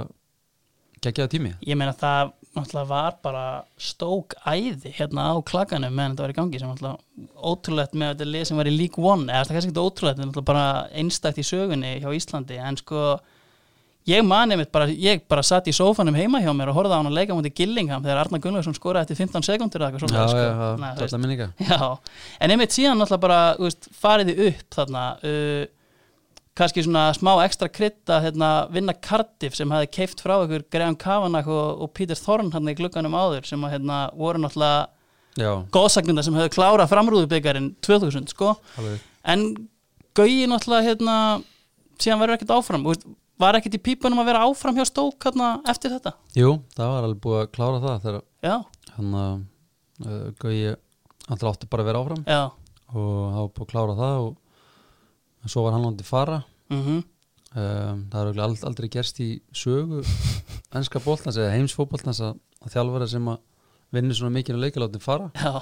B: geggjaða tími
C: ég meina það náttúrulega var bara stók æði hérna á klakanum meðan þetta var í gangi sem náttúrulega ótrúlegt með þetta lið sem var í League One eða það er kannski ekki ótrúlegt en náttúrulega bara einstakt í sögunni hjá Íslandi en sko ég mani mitt bara, ég bara satt í sófanum heima hjá mér og horfði á hann að leika mútið Gillingham þegar Arnar Gunnlaugsson skoraði eftir 15 sekundur eða eitthvað svona
B: já, já,
C: sko. Nei, þú veist.
B: salla minninga
C: Já, en einmitt síðan náttúrulega bara þú veist, farið þið upp þarna uh, kannski svona smá ekstra krytta hérna, vinna Cardiff sem hafði keift frá ykkur Graham Kavanagh og, og Peter Thorne hérna í glugganum áður sem að, hérna, voru náttúrulega
B: já,
C: góðsagnunda sem hefðu klárað framrúðubikarinn 2000 sko
B: alveg
C: en Gauji náttúrulega hérna, síðan verður ekkert áfram þú veist, var ekkert í pípunum að vera áfram hjá Stók hérna, eftir þetta
B: Jú, það var alveg búið að klára það þegar
C: Já,
B: hann að uh, Gauji, hann til átti bara að vera áfram
C: já,
B: og það var búið að klára það og en svo var hann átti fara
C: mhm
B: um, það er örugglega ald- aldrei gerst í sögu ennska bóltans eða heimsfóboltans að, að þjálfara sem að vinnur svona mikið á leikilátti fara
C: já,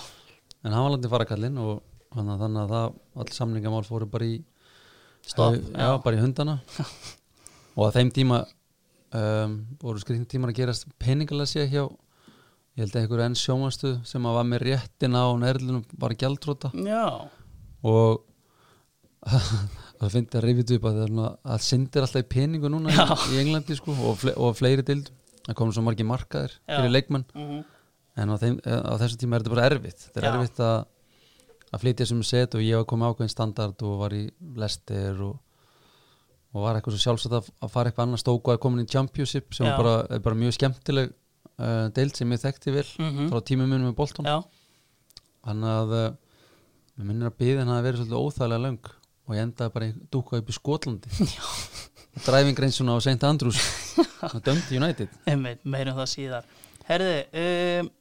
B: en hann var átti fara kallinn og hann að þannig að það, all samningamál fóru bara í
C: stopp
B: já, bara í hundana og að þeim tíma um, voru skrifnum tímar að gerast peningalega sé hjá ég held að einhver enn sjómastu sem að var með réttin á nærlunum var gjaldróta
C: já,
B: og það finnst að reyfið upp að það er svona- að syndir alltaf í peningu núna í, í Englandi sko og, fle og fleiri dild það komum svo margir markaðir
C: Já.
B: fyrir leikmann
C: mhm
B: en á, þeim, á þessum tíma er þetta bara erfitt þetta er
C: Já.
B: erfitt að, að flytja sem set og ég var komið ákveðin standard og var í lestir og, og var eitthvað svo sjálfsagt að, að fara eitthvað annað stóku að komin í championship sem
C: Já.
B: var bara, er bara mjög skemmtileg uh, deild sem ég þekkti vel
C: Mhm.
B: frá tímum munum með Bolton
C: Já,
B: þannig að uh, mér minnir að byðin hafi verið svolítið óþægilega löng og ég endaði bara í- dúkkað upp í Skotlandi driving reynsuna á St. Andrews og dömdi United
C: einmitt, meirum það síðar Herðu um,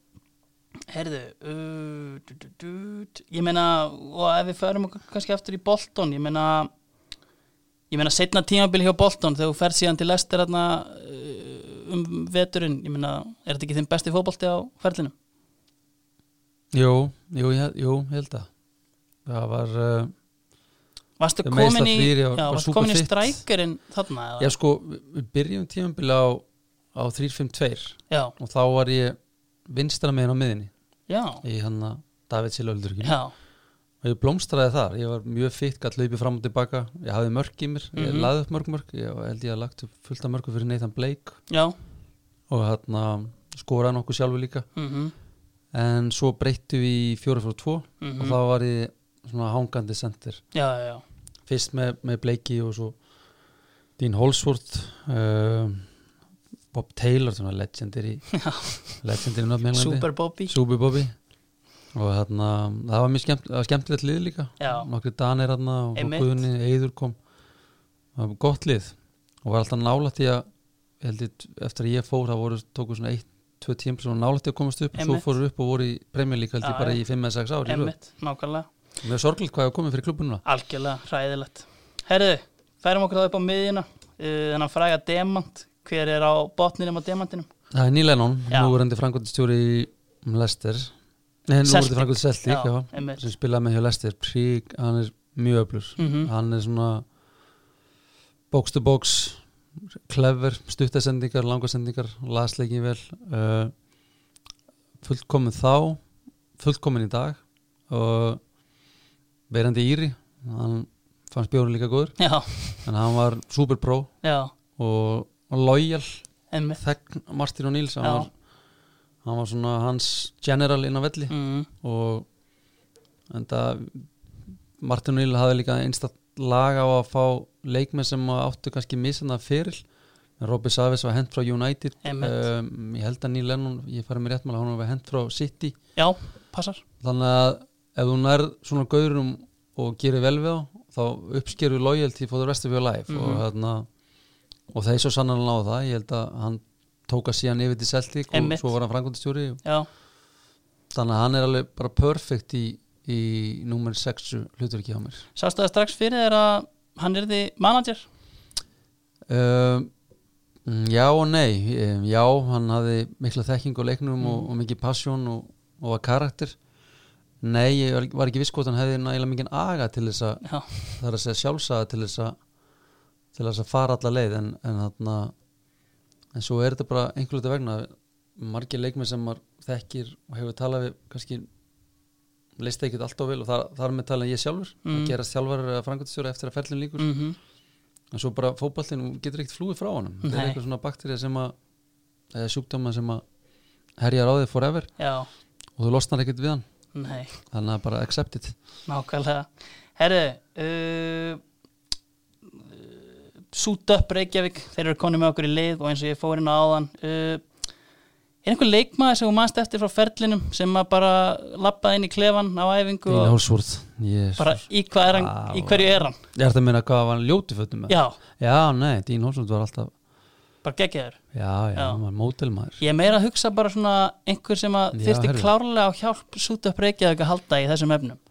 C: Herðu uh, du, du, du, du, Ég meina og ef við förum okkur kannski aftur í Bolton ég meina ég meina setna tímabil hjá Bolton þegar þú ferð síðan til lestir hérna, um veturinn ég meina, er þetta ekki þinn besti fótbolti á ferlinum?
B: Jú, jú, ég, jú, ég held að það var uh,
C: Varstu
B: Þegar meiðsl
C: komin í, já,
B: þrír, ég var- var
C: varstu
B: super
C: komin í
B: fit.
C: strækirinn þarna? eða?
B: Já sko, við- við byrjum tímabili á, á 3-5-2
C: já,
B: og þá var ég vinstra megin á miðinni
C: já,
B: í hann að David Silvöldur
C: já,
B: og ég blómstraði þar, ég var mjög fitt gætt hlaupið fram og tilbaka, ég hafði mörg í mér ég
C: Mhm.
B: laði upp mörg mörg, ég held ég að lagt upp fullt af mörgu fyrir Nathan Blake
C: já
B: og hann skoraði nokkuð sjálfu líka
C: mm
B: en svo breyttu við í 4-4-2
C: Mhm.
B: og þá var ég svona hangandi sendir
C: já, já, já,
B: fyrst með, með Blakey og svo Dean Holsworth uh, Bob Taylor svona legendir í legendir í Norðmjölandi
C: Super Bobby
B: Super Bobby og þarna, það var mjög skemmt, það var skemmtilegt lið líka
C: Já.
B: nokkri danir þarna og
C: Einmitt.
B: Guðni Eiður kom það var gott lið og var alltaf nálætt í að ég held ég, eftir að ég fór það voru tóku svona 1-2 tíma sem var nálætt í að komast upp og svo
C: Einmitt.
B: fóru upp og voru í premjör líka held ég
C: Já,
B: bara
C: já.
B: í 5-6 ári
C: Einmitt, nákvæmlega
B: mjög sorglega hvað hefur komið fyrir klubununa
C: Algjörlega, hræðilegt Herðu, færum okkur þá upp á miðjuna uh, Þennan fræga demant Hver er á botninum á demantinum?
B: Það er Neil Lennon,
C: Já.
B: núverandi frangotistjóri í Lester Nei, núverandi
C: Celtic.
B: frangotist Celtic,
C: Já,
B: já,
C: einmitt.
B: sem spilaði með hjá Lester Prík, hann er mjög öflur
C: Mhm.
B: hann er svona box to box clever, stuttasendingar, langasendingar lasleikin vel uh, fullkomin þá fullkomin í dag og verandi íri hann fannst bjórun líka góður
C: Já,
B: en hann var super pro
C: já,
B: og loyal
C: einmitt
B: þegn Martin O'Neill hann,
C: Já.
B: var- hann var svona hans general inn á velli
C: mm,
B: og en það Martin O'Neill hafði líka einstakt lag á að fá leikmenn sem að áttu kannski misana fyrir Robby Savies var hent frá United
C: Einmitt.
B: um, ég held að Neil Lennon, ég farið mér réttmála hann var hent frá City
C: Já, passar
B: þannig að ef þú nærð svona gaurum og gerir vel við þá þá uppskerur loyalty for the rest of your life
C: Mhm.
B: og, hérna, og þeir svo sannanlega náðu það ég held að hann tóka síðan yfir til Celtic og
C: Einmitt.
B: svo var hann frangundistjóri
C: Já,
B: þannig að hann er alveg bara perfect í, í númer 6 hlutverki á mér
C: sástu það strax fyrir þér að hann er því manager
B: um, mm, já og nei um, já, hann hafði mikla þekking á leiknum og, og mikið passion og, og var karakter nei, ég var- var ekki viss hvort hann hefði nægilega mikið aga til þess að
C: Já,
B: það er að segja sjálfsaga til þess að til þess að fara alla leið en, en þarna en svo er þetta bara einhvern veit vegna margir leikmið sem maður þekkir og hefur talað við kannski leist ekkert alltaf vel og þar, þar með talað ég sjálfur
C: Mm.
B: að gerast þjálfarar eða frangöndstjóra eftir að ferlinn líkur
C: mm
B: en svo bara fótballin þú getur ekkert flúið frá honum það er
C: Nei.
B: eitthvað svona bakterja sem að eða sjúkdóma sem að herjar á þig forever
C: já,
B: og þú losnar ekkert við hann
C: nei,
B: þannig að bara accept it
C: nákvæmlega Herru uh, Sút upp Reykjavík Þeir eru konið með okkur í lið og eins og ég fór inn á áðan uh, Er einhver leikmaður sem þú manst eftir frá ferlinum sem að bara lappaði inn í klefan á æfingu
B: Díla
C: og
B: Hálsvörð Jesus.
C: bara í, hvað er hann,
B: Vá.
C: í hverju er hann
B: Ég ætti að meina hvað var hann ljóti fötum með
C: Já,
B: Já, nei, Dín Hólsson var alltaf
C: bara geggjaður
B: Já, já,
C: Já.
B: hann var mótelmaður
C: Ég er meira að hugsa bara svona einhver sem að
B: Já,
C: þyrfti
B: heyrðu.
C: klárlega á hjálp súta upp Reykjavík að halda í þessum efnum.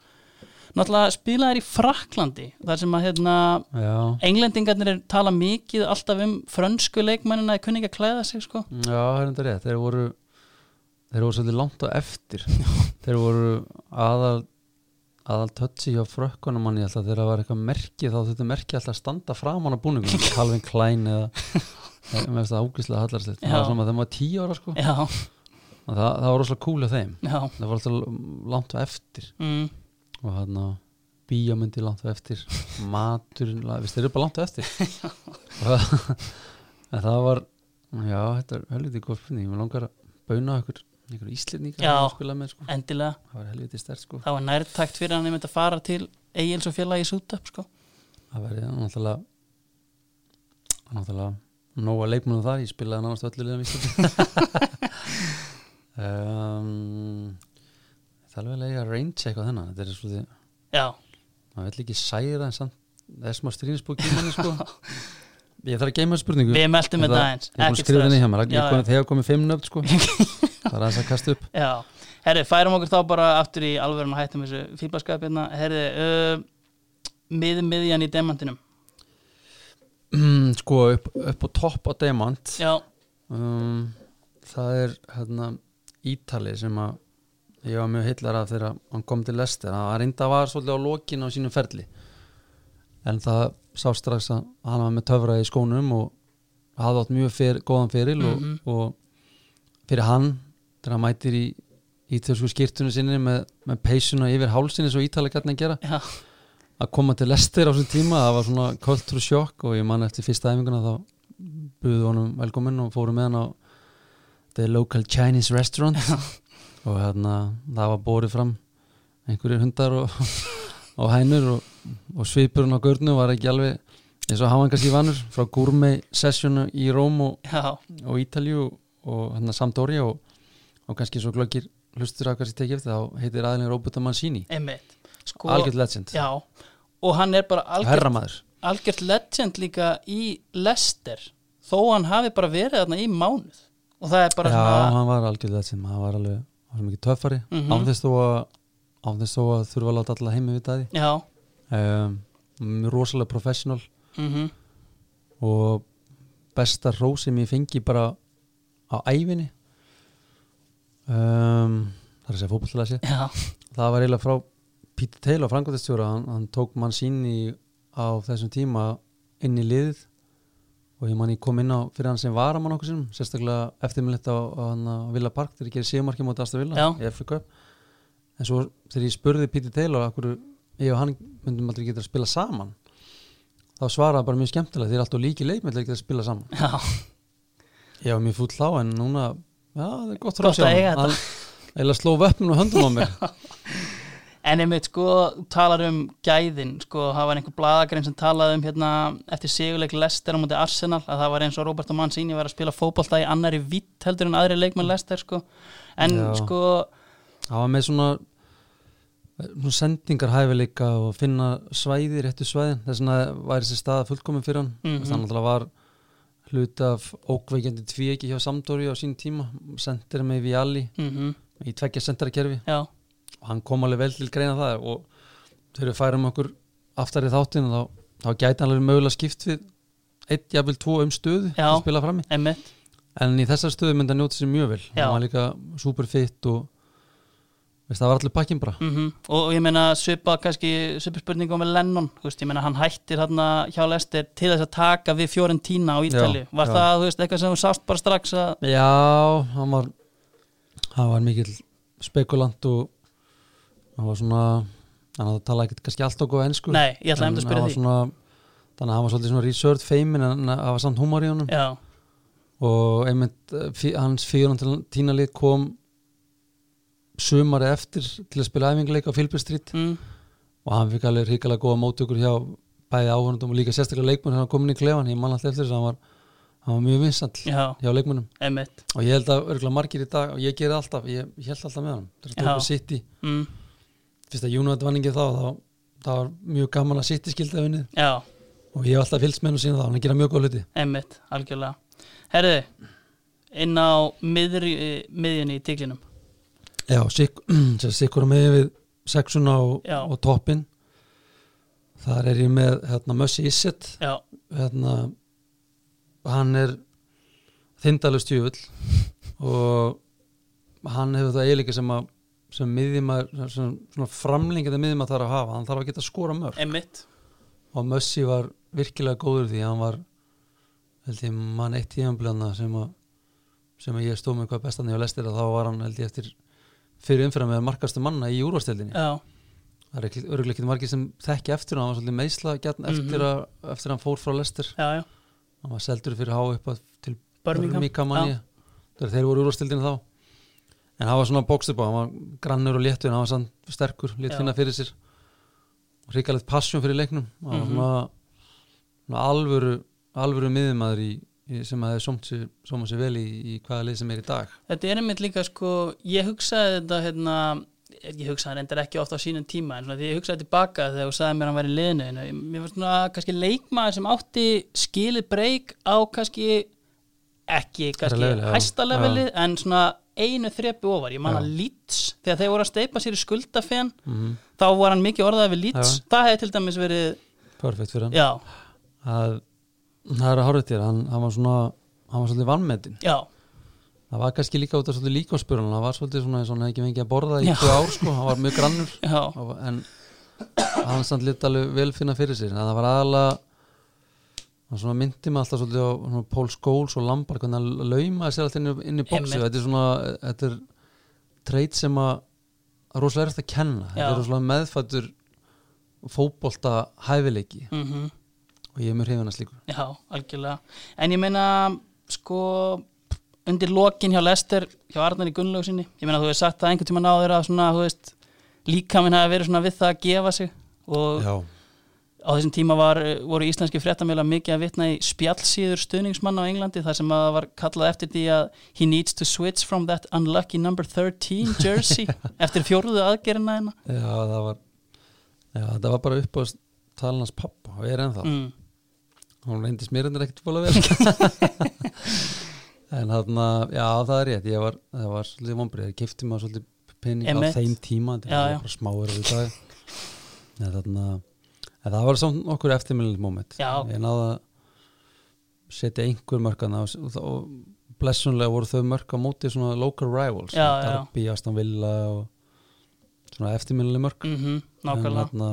C: Náttúrulega spila þær í Fraklandi þar sem að hérna,
B: Já,
C: englendingarnir er, tala mikið alltaf um frönsku leikmennina að kunni ekki að klæða sig sko.
B: já, er þetta rétt Þeir voru, þeir voru svolítið langt á eftir Þeir voru aðal aðal tötsi hjá frökkunum manni alltaf þegar það var eitthvað merki þá þetta merki alltaf að standa framan á búningum Calvin Klein eða með þess að ágæslega hallarslegt það
C: Já.
B: var svona þegar maður var tíu ára sko
C: Já,
B: Og það, það var rosalega cool af þeim
C: já.
B: það var alltaf langt á eftir
C: Mm,
B: og hann á bíómyndi langt á eftir maturinn, la- veist þeir eru bara langt á eftir og en það var já, þetta er helviti góð spurning, ég langar að bauna okkur einhver íslendingar
C: Já.
B: að spila með sko.
C: endilega.
B: það var helviti stert sko
C: Þá er nærtakt fyrir hann einmitt að fara til Egil's og félagi súta upp sko.
B: það verði náttúrulega náttúrulega nóga leikmennum þar, ég spilaði nánast öllu liðan Íslandi um, það er alveg að range eitthvað þennan, þetta er svolítið
C: Já,
B: maður vill ekki særa en samt það er smá stríðnisbúk í manni sko ég þarf að geima spurningu
C: við meldum
B: Ég
C: þetta
B: ætla-
C: aðeins.
B: ég er búin að
C: Ekkert
B: skrifa
C: stress.
B: henni hjá mér
C: Já,
B: ég kom, þegar komið fimm nöfn sko það er aðeins að kasta upp
C: Já, herri, færum okkur þá bara aftur í alvörum að hættum þessu fýblaskap hérna, herri, uh, mið miðjan í demantinum
B: mm, sko upp, upp á topp á Demant
C: Já,
B: um, það er hérna Ítali sem að ég var mjög heillar af þegar hann kom til lesti það var reynda var svolítið á lokin á sínum ferli en það sá strax að hann var með töfra í skónum og hafði átt mjög fyr, góðan feril
C: Mhm.
B: og, og fyrir hann þegar hann mætir í ítölsku skýrtunum sinni með, með peysuna yfir hálsinni svo Ítali gætna að gera
C: já,
B: að koma til lestir á þessum tíma það var svona kultúr sjokk og ég man eftir fyrsta æfinguna þá buðu honum velkominn og fórum með hann á the local Chinese restaurant og hérna það var borið fram einhverjir hundar og, og hænur og, og svipurinn á görnu var ekki alveg eins og hafa hann kannski vannur frá gourmet sessjónu í Róm og,
C: já,
B: og Ítalju og hérna Sampdoria og, og kannski svo glöggir hlustur að kannski tekið eftir þá heitir aðlinn Roberta Mancini
C: einmitt sko,
B: algjörð legend,
C: Já, og hann er bara algjört,
B: herramaður
C: algjört legend líka í Lester þó hann hafi bara verið þarna í mánuð og það er bara
B: Já,
C: svona
B: hann var algjörlega sem hann var alveg hann var mikið töffari
C: Mhm.
B: án þess þó að án þess þó að þurfa að láta alla heimi við það
C: Já,
B: um, rosalega professional
C: mm
B: og besta ró sem ég fengi bara á ævinni um, það er að segja fótbollega sér
C: já,
B: það var eiginlega frá Peter Taylor frangotastjóra, hann, hann tók mann sín á þessum tíma inn í liðið og ég man ég kom inn á fyrir hann sem varamann okkur sinum sérstaklega eftirmilegt á, á, hann á Villa Park þegar ég gerir síðumarki móti Asta Villa
C: Já.
B: í FA Cup en svo þegar ég spurði Peter Taylor akkur ég og hann myndum aldrei geta að spila saman þá þá svaraði bara mjög skemmtilega þeir eru alltaf líki leikmið til að spila saman
C: Já,
B: ég var mjög fúll þá en núna já, það er gott
C: Gott
B: ráð
C: að eiga þetta.
B: eða sló vöppnum og höndum á mér
C: En einmitt sko talar um gæðin sko, það var einhver bladagrein sem talaði um hérna eftir sigurleik Lester á móti Arsenal að það var eins og Roberto Mancini var að spila fótbolta í annari vitt heldur en aðri leikmenn Lester sko, en
B: Já.
C: sko
B: það var með svona, svona sendingar hæfileika og finna svæði réttu svæðin þess vegna var þessi staða fullkomin fyrir hann mm
C: Mhm.
B: -hmm. þannig að var hluta af ókveikjandi tvíegi hjá Samdóri á sín tíma, sendir með Viali
C: mm
B: í tveggja sendarakerfi
C: já,
B: og hann kom alveg vel til greina það og þegar við færum okkur aftar í þáttinu þá, þá gæti hann alveg mögulega skipt við eitt, jafnvel tvo um stöðu
C: Já.
B: að spila frammi
C: einmitt
B: en í þessar stöðu myndi hann njóta sér mjög vel
C: Já.
B: hann var líka super fit og veist, það var allir pakkin bara
C: mm og ég meina svipa kannski svipa spurningum með Lennon, þú veist, ég meina hann hættir hérna hjá Lester til þess að taka við Fiorentina á Ítali,
B: Já,
C: var
B: já.
C: það þú veist, eitthvað sem þú sást bara strax að
B: já, hann var hann var mikill spekulant og hann var svona hann hafði talað ekkert kannski allt okkur ennsku
C: nei, ég ætla einmitt að spyrja því
B: svona, þannig að hann var svolítið svona reserved feimin en hann var samt humor í honum
C: já,
B: og einmitt eh, fí- hans fíjónantína lið kom sumari eftir til að spila æfinguleik á Filbert Street
C: mm,
B: og hann fikk alveg hrikalega góða mótökur hjá bæði áhörnundum og líka sérstaklega leikmunum hann var komin í klefan, ég man alltaf eftir þess að hann var hann var mjög vinsall
C: já,
B: hjá leikmunum
C: einmitt
B: og ég held að örgulega margir í dag og ég gerði alltaf, ég, ég held alltaf með hann þegar
C: Já.
B: það var sitt í,
C: mm,
B: fyrst að United vanningi þá þá það var mjög gaman að sitt í skildafinni
C: já
B: og ég hef alltaf fylgst með hann síðan þá, hann er að gera mjög góð hluti
C: Einmitt, algjörlega Herðu, inn á miðri, miðjunni í tíklinum
B: Já, sikk- sikkur að með við sexuna og,
C: Já.
B: og toppin þar er ég með hérna, Mössi Isset
C: Já,
B: hérna, hann er þindalust jöfull og hann hefur það eiginleika sem að sem miðjumar, sem svona framlingið að miðjumar þarf að hafa, hann þarf að geta að skora mörg
C: einmitt
B: og Mössi var virkilega góður því hann var held ég mann eitt tíðanblöðna sem að sem að ég stóð með hvað bestan ég að lestir að þá var hann held ég eftir fyrir umfyrir með markastu manna í úrvasteldinni
C: Já,
B: það er ekki- örugglega ekki margir sem þekki eftir hann hann var svolítið meðsla gætn eftir að eftir að hann fór frá lestir
C: já, já
B: hann var seldur fyrir háu upp að til
C: Birmingham,
B: Birmingham þegar þeir voru úrvastildin þá en hann var svona bókstup á, hann var grannur og léttur en hann var sann sterkur, létt
C: Já.
B: finna fyrir sér og ríkalegt passjón fyrir leiknum hann var svona, svona alvöru alvöru miðumæður í, í, sem að hefði sóma sér vel í, í hvaða lið sem er í dag
C: Þetta er einmitt líka sko, ég hugsaði þetta hérna ég hugsaði reyndar ekki ofta á sínum tíma en svona því ég hugsaði tilbaka þegar þú sagði mér að hann var í liðinu en mér var svona kannski leikmaður sem átti skilið breyk á kannski ekki kannski
B: level, já.
C: hæsta levelið en svona einu þrepi ofar, ég man
B: Já.
C: að Leeds þegar þeir voru að steipa sér í skuldafen
B: Mhm.
C: þá var hann mikið orðað við Leeds það hefði til dæmis verið,
B: perfekt fyrir hann
C: já,
B: að, það er að horfa til hann, hann var svona hann var svolítið vannmetinn
C: já
B: það var kannski líka út af svolítið líkáspurun hann var svolítið svona eins og hann hefði ekki fengið að borða í
C: Já.
B: tvö ár sko, hann var mjög grannur
C: já,
B: Og- en hann samt lit alveg vel finna fyrir sér en það var aðalega hann svona myndi mig alltaf svolítið á svona, Paul Scholes og Lampard hvernig hann laumaði sér alltaf inn í, inn í boxi
C: Einmitt.
B: þetta er svona þetta er treyt sem að að rosalega erist að kenna þetta
C: Já.
B: er rosalega meðfættur fótbolta hæfileiki
C: mhm
B: og ég er mjög hrifin að slíku
C: Já, algjörlega. En ég meina, sko, undir lokin hjá Lester, hjá Arnar í Gunnlaugsinni, ég meina, þú hefur sagt það einhvern tíma náður að svona, þú veist, líkaminn hafi verið svona við það að gefa sig og
B: Já,
C: á þessum tíma var, voru íslenski fréttamjöla mikið að vitna í spjallsýður stuðningsmanna á Englandi þar sem að var kallað eftir því að he needs to switch from that unlucky number 13 jersey eftir fjórðu aðgerina hérna.
B: já það var já, það var bara upp á talan hans pappa og ég er ennþá
C: Mm,
B: hún reyndist mér endur ekkert fóla vel en þarna já það er rétt, ég var, það var svolítið vombrið, ég kefti maður svolítið pening
C: Einmitt.
B: á þeim tíma, þetta
C: Já,
B: er
C: já.
B: bara smáir á því dag en þarna en það var samt okkur eftirmjöld moment
C: Já.
B: ég náði að setja einhver mörkana og, og blessunlega voru þau mörk á móti svona local rivals,
C: Já, já.
B: Darby, Aston Villa og svona eftirmjöldlega mörk
C: mm
B: en, hérna,
C: nákvæmlega.
B: þarna,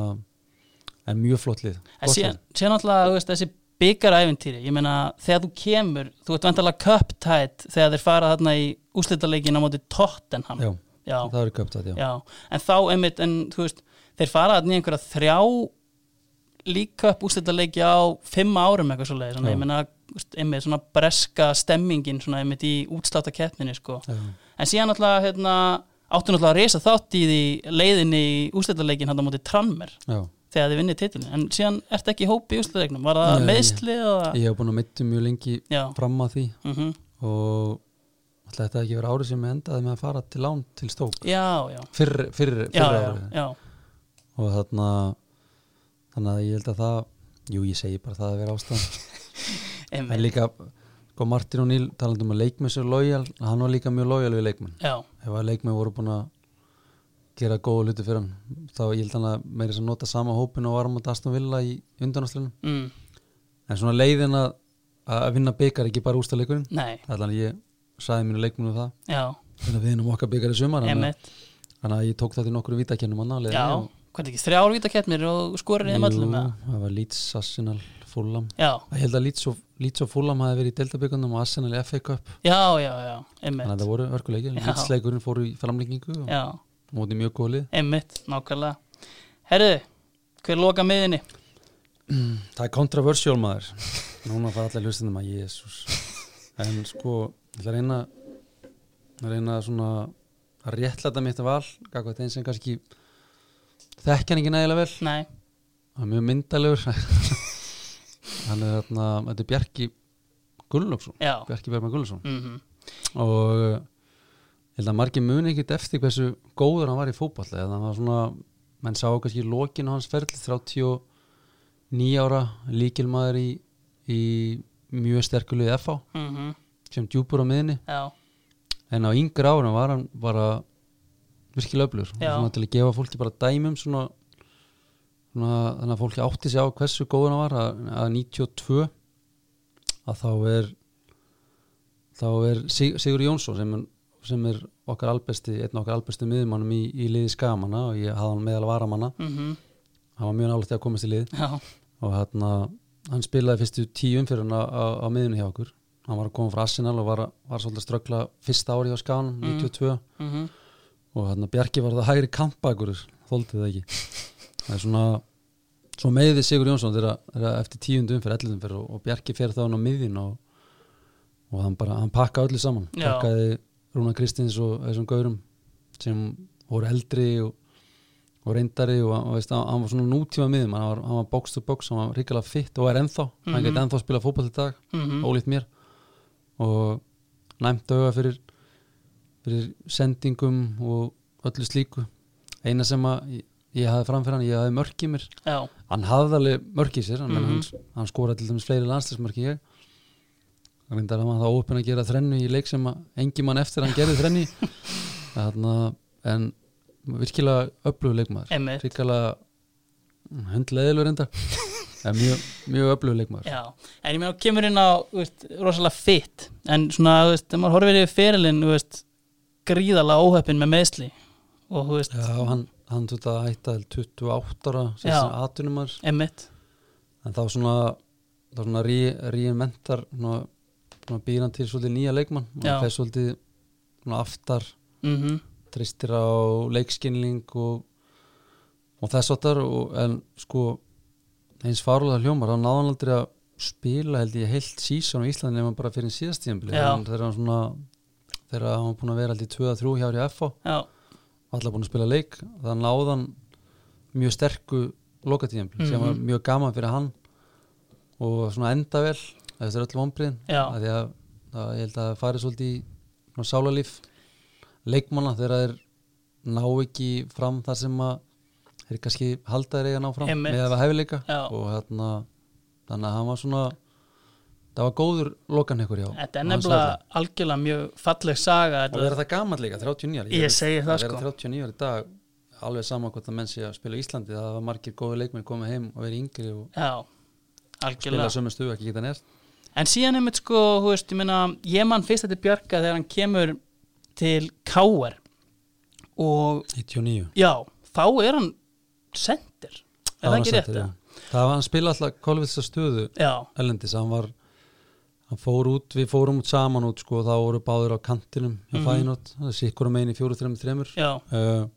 B: en mjög flott lið
C: En
B: Gott
C: síðan, síðan alltaf, þú veist, þessi byggaræfintýri, ég meina, þegar þú kemur, þú ert vandalega köptætt þegar þeir fara þarna í úslitaleikin á móti Tottenham.
B: lið. já,
C: já,
B: það eru köpt að já
C: já. En þá, einmitt, en þú veist, þeir fara þarna í einhverja þrjá líka upp úrstættaleiki á fimm árum eitthvað svo leið, svona,
B: Já.
C: ég meina þú veist, einmitt svona breska stemmingin svona einmitt í útsláta keppninni sko. en síðan alltaf hérna, áttu náttúrulega að reysa þátt í því leiðinni í úrstættaleikin hann á móti Tranmer
B: já,
C: þegar þið vinnið titilin, en síðan ertu ekki í hópi í úrstættaleiknum, var það
B: Nei,
C: meðsli eða?
B: ég hef búin að meittu mjög lengi
C: Já,
B: fram að því
C: mm
B: og alltaf þetta ekki verið árið sem ég endaði með að fara til lán til stók
C: já, já
B: fyrr, fyrr, fyrr
C: Já, já,
B: árið
C: já,
B: og þarna þannig að ég held að það jú ég segi bara það að vera ástæðan en
C: einmitt
B: líka sko Martin og Níl talandum að leikmenn sér lojal hann var líka mjög lojal við leikmenn
C: Já,
B: ef að leikmenn voru búin að gera góða hluti fyrir hann þá ég held hann að meira sem nota sama hópin og varum á Aston Villa í undanáslinum
C: mm,
B: en svona leiðin að, að vinna byggar ekki bara ústa leikurinn
C: nei,
B: þannig að ég sagði mínu leikmennu það
C: já,
B: þannig að við erum okkar byggar í sumar þannig að-
C: einmitt
B: þannig að ég tók það til nokkru vítakennum hann að leiðinni
C: Já,
B: og-
C: hvernig ekki, þrjár vítakeppnir og skorir þeim öllum
B: Jú,
C: eða?
B: það var Leeds, Arsenal, Fulham
C: Já,
B: Ég held að Leeds og, Leeds og Fulham hafi verið í deltabyggundum og Arsenal í FA Cup
C: já, já, já,
B: þannig að
C: einmitt
B: það voru örkuleikir
C: Já.
B: Leeds leikurinn fóru í framlengingu og
C: Já,
B: móti mjög góli
C: einmitt, nákvæmlega Herðu, hver loka miðinni?
B: Það er controversial maður Núna fara allir hlustinu maður, jésús En sko, ég ætla að reyna að reyna svona að réttlæta mitt val gagvað þeim sem kannski þekkja hann ekki nægilega vel
C: Nei,
B: hann er mjög myndalegur hann er þarna, þetta er Bjarki Gullöksson
C: já
B: Bjarki Berma Gullöksson
C: mm
B: og uh, ég held að margir muni ekkert eftir hversu góður hann var í fótballa eða hann var svona, menn sá kannski lokin á hans ferli, 39 ára líkilmaður í, í mjög sterkulegu FH
C: mhm,
B: sem djúpur á miðinni
C: Já,
B: en á yngri ára var hann bara virkilega öflur
C: Já.
B: svona til að gefa fólki bara dæmum svona, svona þannig að fólki átti sig á hversu góður hann var að, að 92 að þá er þá er Sig, Sigur Jónsson sem er, sem er okkar albesti einn af okkar albesti miðmannum í, í liði skamanna og ég hafði hann meðal varamanna
C: mhm,
B: hann var mjög nálægt í að komast í lið
C: já,
B: og hann, hann spilaði fyrstu tíum fyrir hann á, á, á miðunni hjá okkur hann var að koma frá Arsenal og var, var svolítið að ströggla fyrsta ári hjá Skan, 92
C: mhm,
B: og hann Bjarki var það hægri kampakur þóldi það ekki það er svona svo meðið Sigur Jónsson þegar þegar eftir tíundum fyrir ellum fyrir og, og Bjarki fer þá hann á miðin og, og hann bara, hann pakka öllu saman
C: Já.
B: pakkaði Rúna Kristins og þessum gaurum sem voru eldri og, og reyndari og, og veist, hann, hann var svona nútíma miðum hann var, hann var box to box, hann var ríkilega fitt og er ennþá, hann geti ennþá að spila fótball í dag
C: mhm
B: ólíkt mér og næmt auga fyrir fyrir sendingum og öllu slíku eina sem að ég, ég hafði framfyrir hann, ég hafði mörk í mér
C: Já,
B: hann hafði alveg mörk í sér mm
C: Mhm.
B: hann, hann skoraði til dæmis fleiri landslismörk en ég hann reyndar að maður það ópen að gera þrennu í leik sem að engi mann eftir að hann gerði þrennu Þarna, en virkilega öflugur leikmaður
C: einmitt
B: ríkala hundleðilur reyndar en mjög, mjög öflugur leikmaður
C: Já, en ég meina, hún kemur inn á þú veist, rosalega fit, en svona, þú veist, þegar maður horfir yfir ferilinn, þú veist, gríðalega óheppin með meðsli og, þú veist,
B: Já, hann, hann þurfti að hætta til 28 ára sem
C: Já.
B: sem atunumar
C: einmitt
B: en þá svona, þá svona reinventar svona, svona býr hann til svolítið nýja leikmann og
C: Já.
B: hann fer svolítið svona aftar
C: mhm,
B: tristir á leikskynning og, og þess áttar og, en sko eins farulega hljómar, hann náðan aldrei að spila held ég heilt sísón á Íslandi nema bara fyrir síðast tíðanbili
C: Já.
B: þegar hann svona þegar hann var búin að vera held í 2-3 hjá í FH
C: já,
B: allar búin að spila leik það náðan mjög sterku lokatíðum sem var
C: Mhm.
B: mjög gaman fyrir hann og svona enda vel eftir öll vombriðin
C: Já.
B: að því að, að ég held að það fari svolítið í svona sálarlíf leikmanna þegar þeir ná ekki fram þar sem að þeir kannski halda þeir eiga að ná fram
C: Einmitt.
B: með að hafa hefileika
C: Já.
B: og hérna, þannig að hann var svona það var góður lokan ykkur hjá
C: þetta er
B: á hans
C: nefnilega
B: ferli.
C: algjörlega mjög falleg saga
B: Og
C: þetta,
B: vera það gaman líka, 39 ári
C: Ég segi það,
B: Að
C: sko.
B: vera 39 ári í dag alveg sama hvort að menn sé að spila í Íslandi það var margir góði leikmenn komið heim og verið yngri og
C: já,
B: spila
C: algjörlega
B: sömu stuðu ekki geta nert
C: en síðan einmitt sko, þú veist, ég meina ég mann fyrst þetta bjarga þegar hann kemur til Káar og
B: 99
C: já, þá er hann sendir, er það ekki rétt eða?
B: Það var hann spila alltaf kolvitsa stuðu
C: já,
B: ellendis, hann var hann fór út, við fórum út saman út sko, og þá voru báður á kantinum hjá mm
C: Mhm.
B: -hmm. Fæinót, það er sikkur um einu í 4-3-3
C: já,
B: Eh, uh,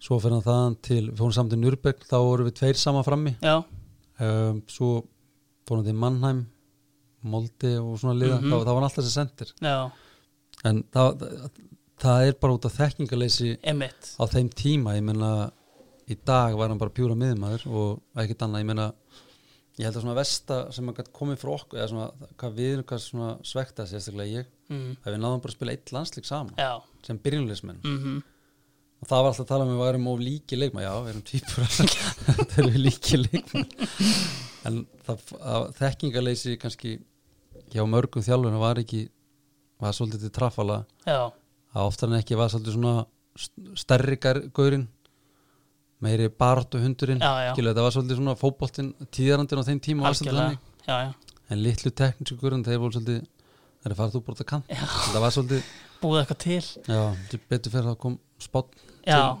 B: svo fyrir hann þaðan til, við fórum saman til Nürberg þá voru við tveir sama frammi
C: já
B: um, svo fór hann til Mannheim Moldi og svona liða
C: Mhm.
B: það, það var alltaf þessi sendir
C: já,
B: en það, það, það er bara út af þekkingaleysi
C: emitt
B: á þeim tíma, ég meina í dag var hann bara pjúra miðmaður og ekkert annað, ég meina ég held að svona versta sem hann gætt komið frá okkur eða svona, hvað við erum hvað svona svekta sérstaklega ég,
C: mm.
B: að við náðum bara að spila eitt landslík saman,
C: já,
B: sem byrjulegismenn
C: mhm
B: og það var alltaf að tala um að við værum of líki leikma já, við erum týpur þetta erum við líki leikma en það, að þekkingaleysi kannski hjá mörgum þjálfuna var ekki var svolítið til trafala
C: já,
B: að oftar en ekki var svolítið svona st- stærri gar- gaurinn meiri baráttu hundurinn
C: Já, já.
B: Skilu, þetta var svolítið svona fótboltinn tíðarandinn á þeim tíma var svolítið
C: algjörlega
B: þannig.
C: já, já,
B: en litlu teknísku gaurinn þeir voru svolítið þeir farið þú brota kant þetta var svolítið
C: búið eitthvað til
B: já, til betur fyrir að kom spott
C: já,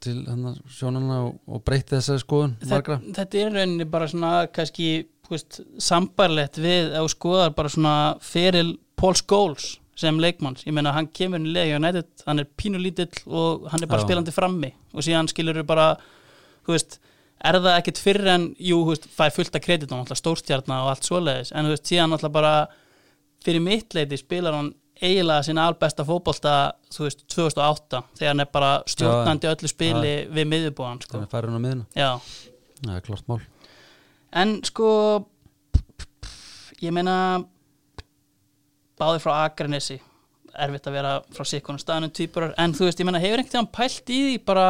B: til hennar sjónana og, og breytti þessari skoðun
C: þetta,
B: margra
C: þetta er í rauninni bara svona kannski þú veist, sambarlegt við ef þú skoðar bara svona feril Paul Scholes sem leikmanns ég meina hann kemur inn í leik United, hann er pínulítill og hann er bara
B: Já.
C: spilandi frammi og síðan skilur þau bara þú veist, er það ekkit fyrr en jú, þú veist, fær fullt af kreditum alltaf stórstjarna og allt svoleiðis en þú veist, síðan alltaf bara fyrir mitt leiti spilar hann eiginlega sinna albesta fótbolta þú veist, 2008 þegar hann er bara stjórnandi öllu spili við miðjubúan sko.
B: þannig færið hún á miðina
C: já
B: það er klart mál
C: En sko ég meina báði frá Akranesi erfitt að vera frá sikkunum staðanum týpurar en þú veist, ég meina, hefur einhvern tíðan pælt í því bara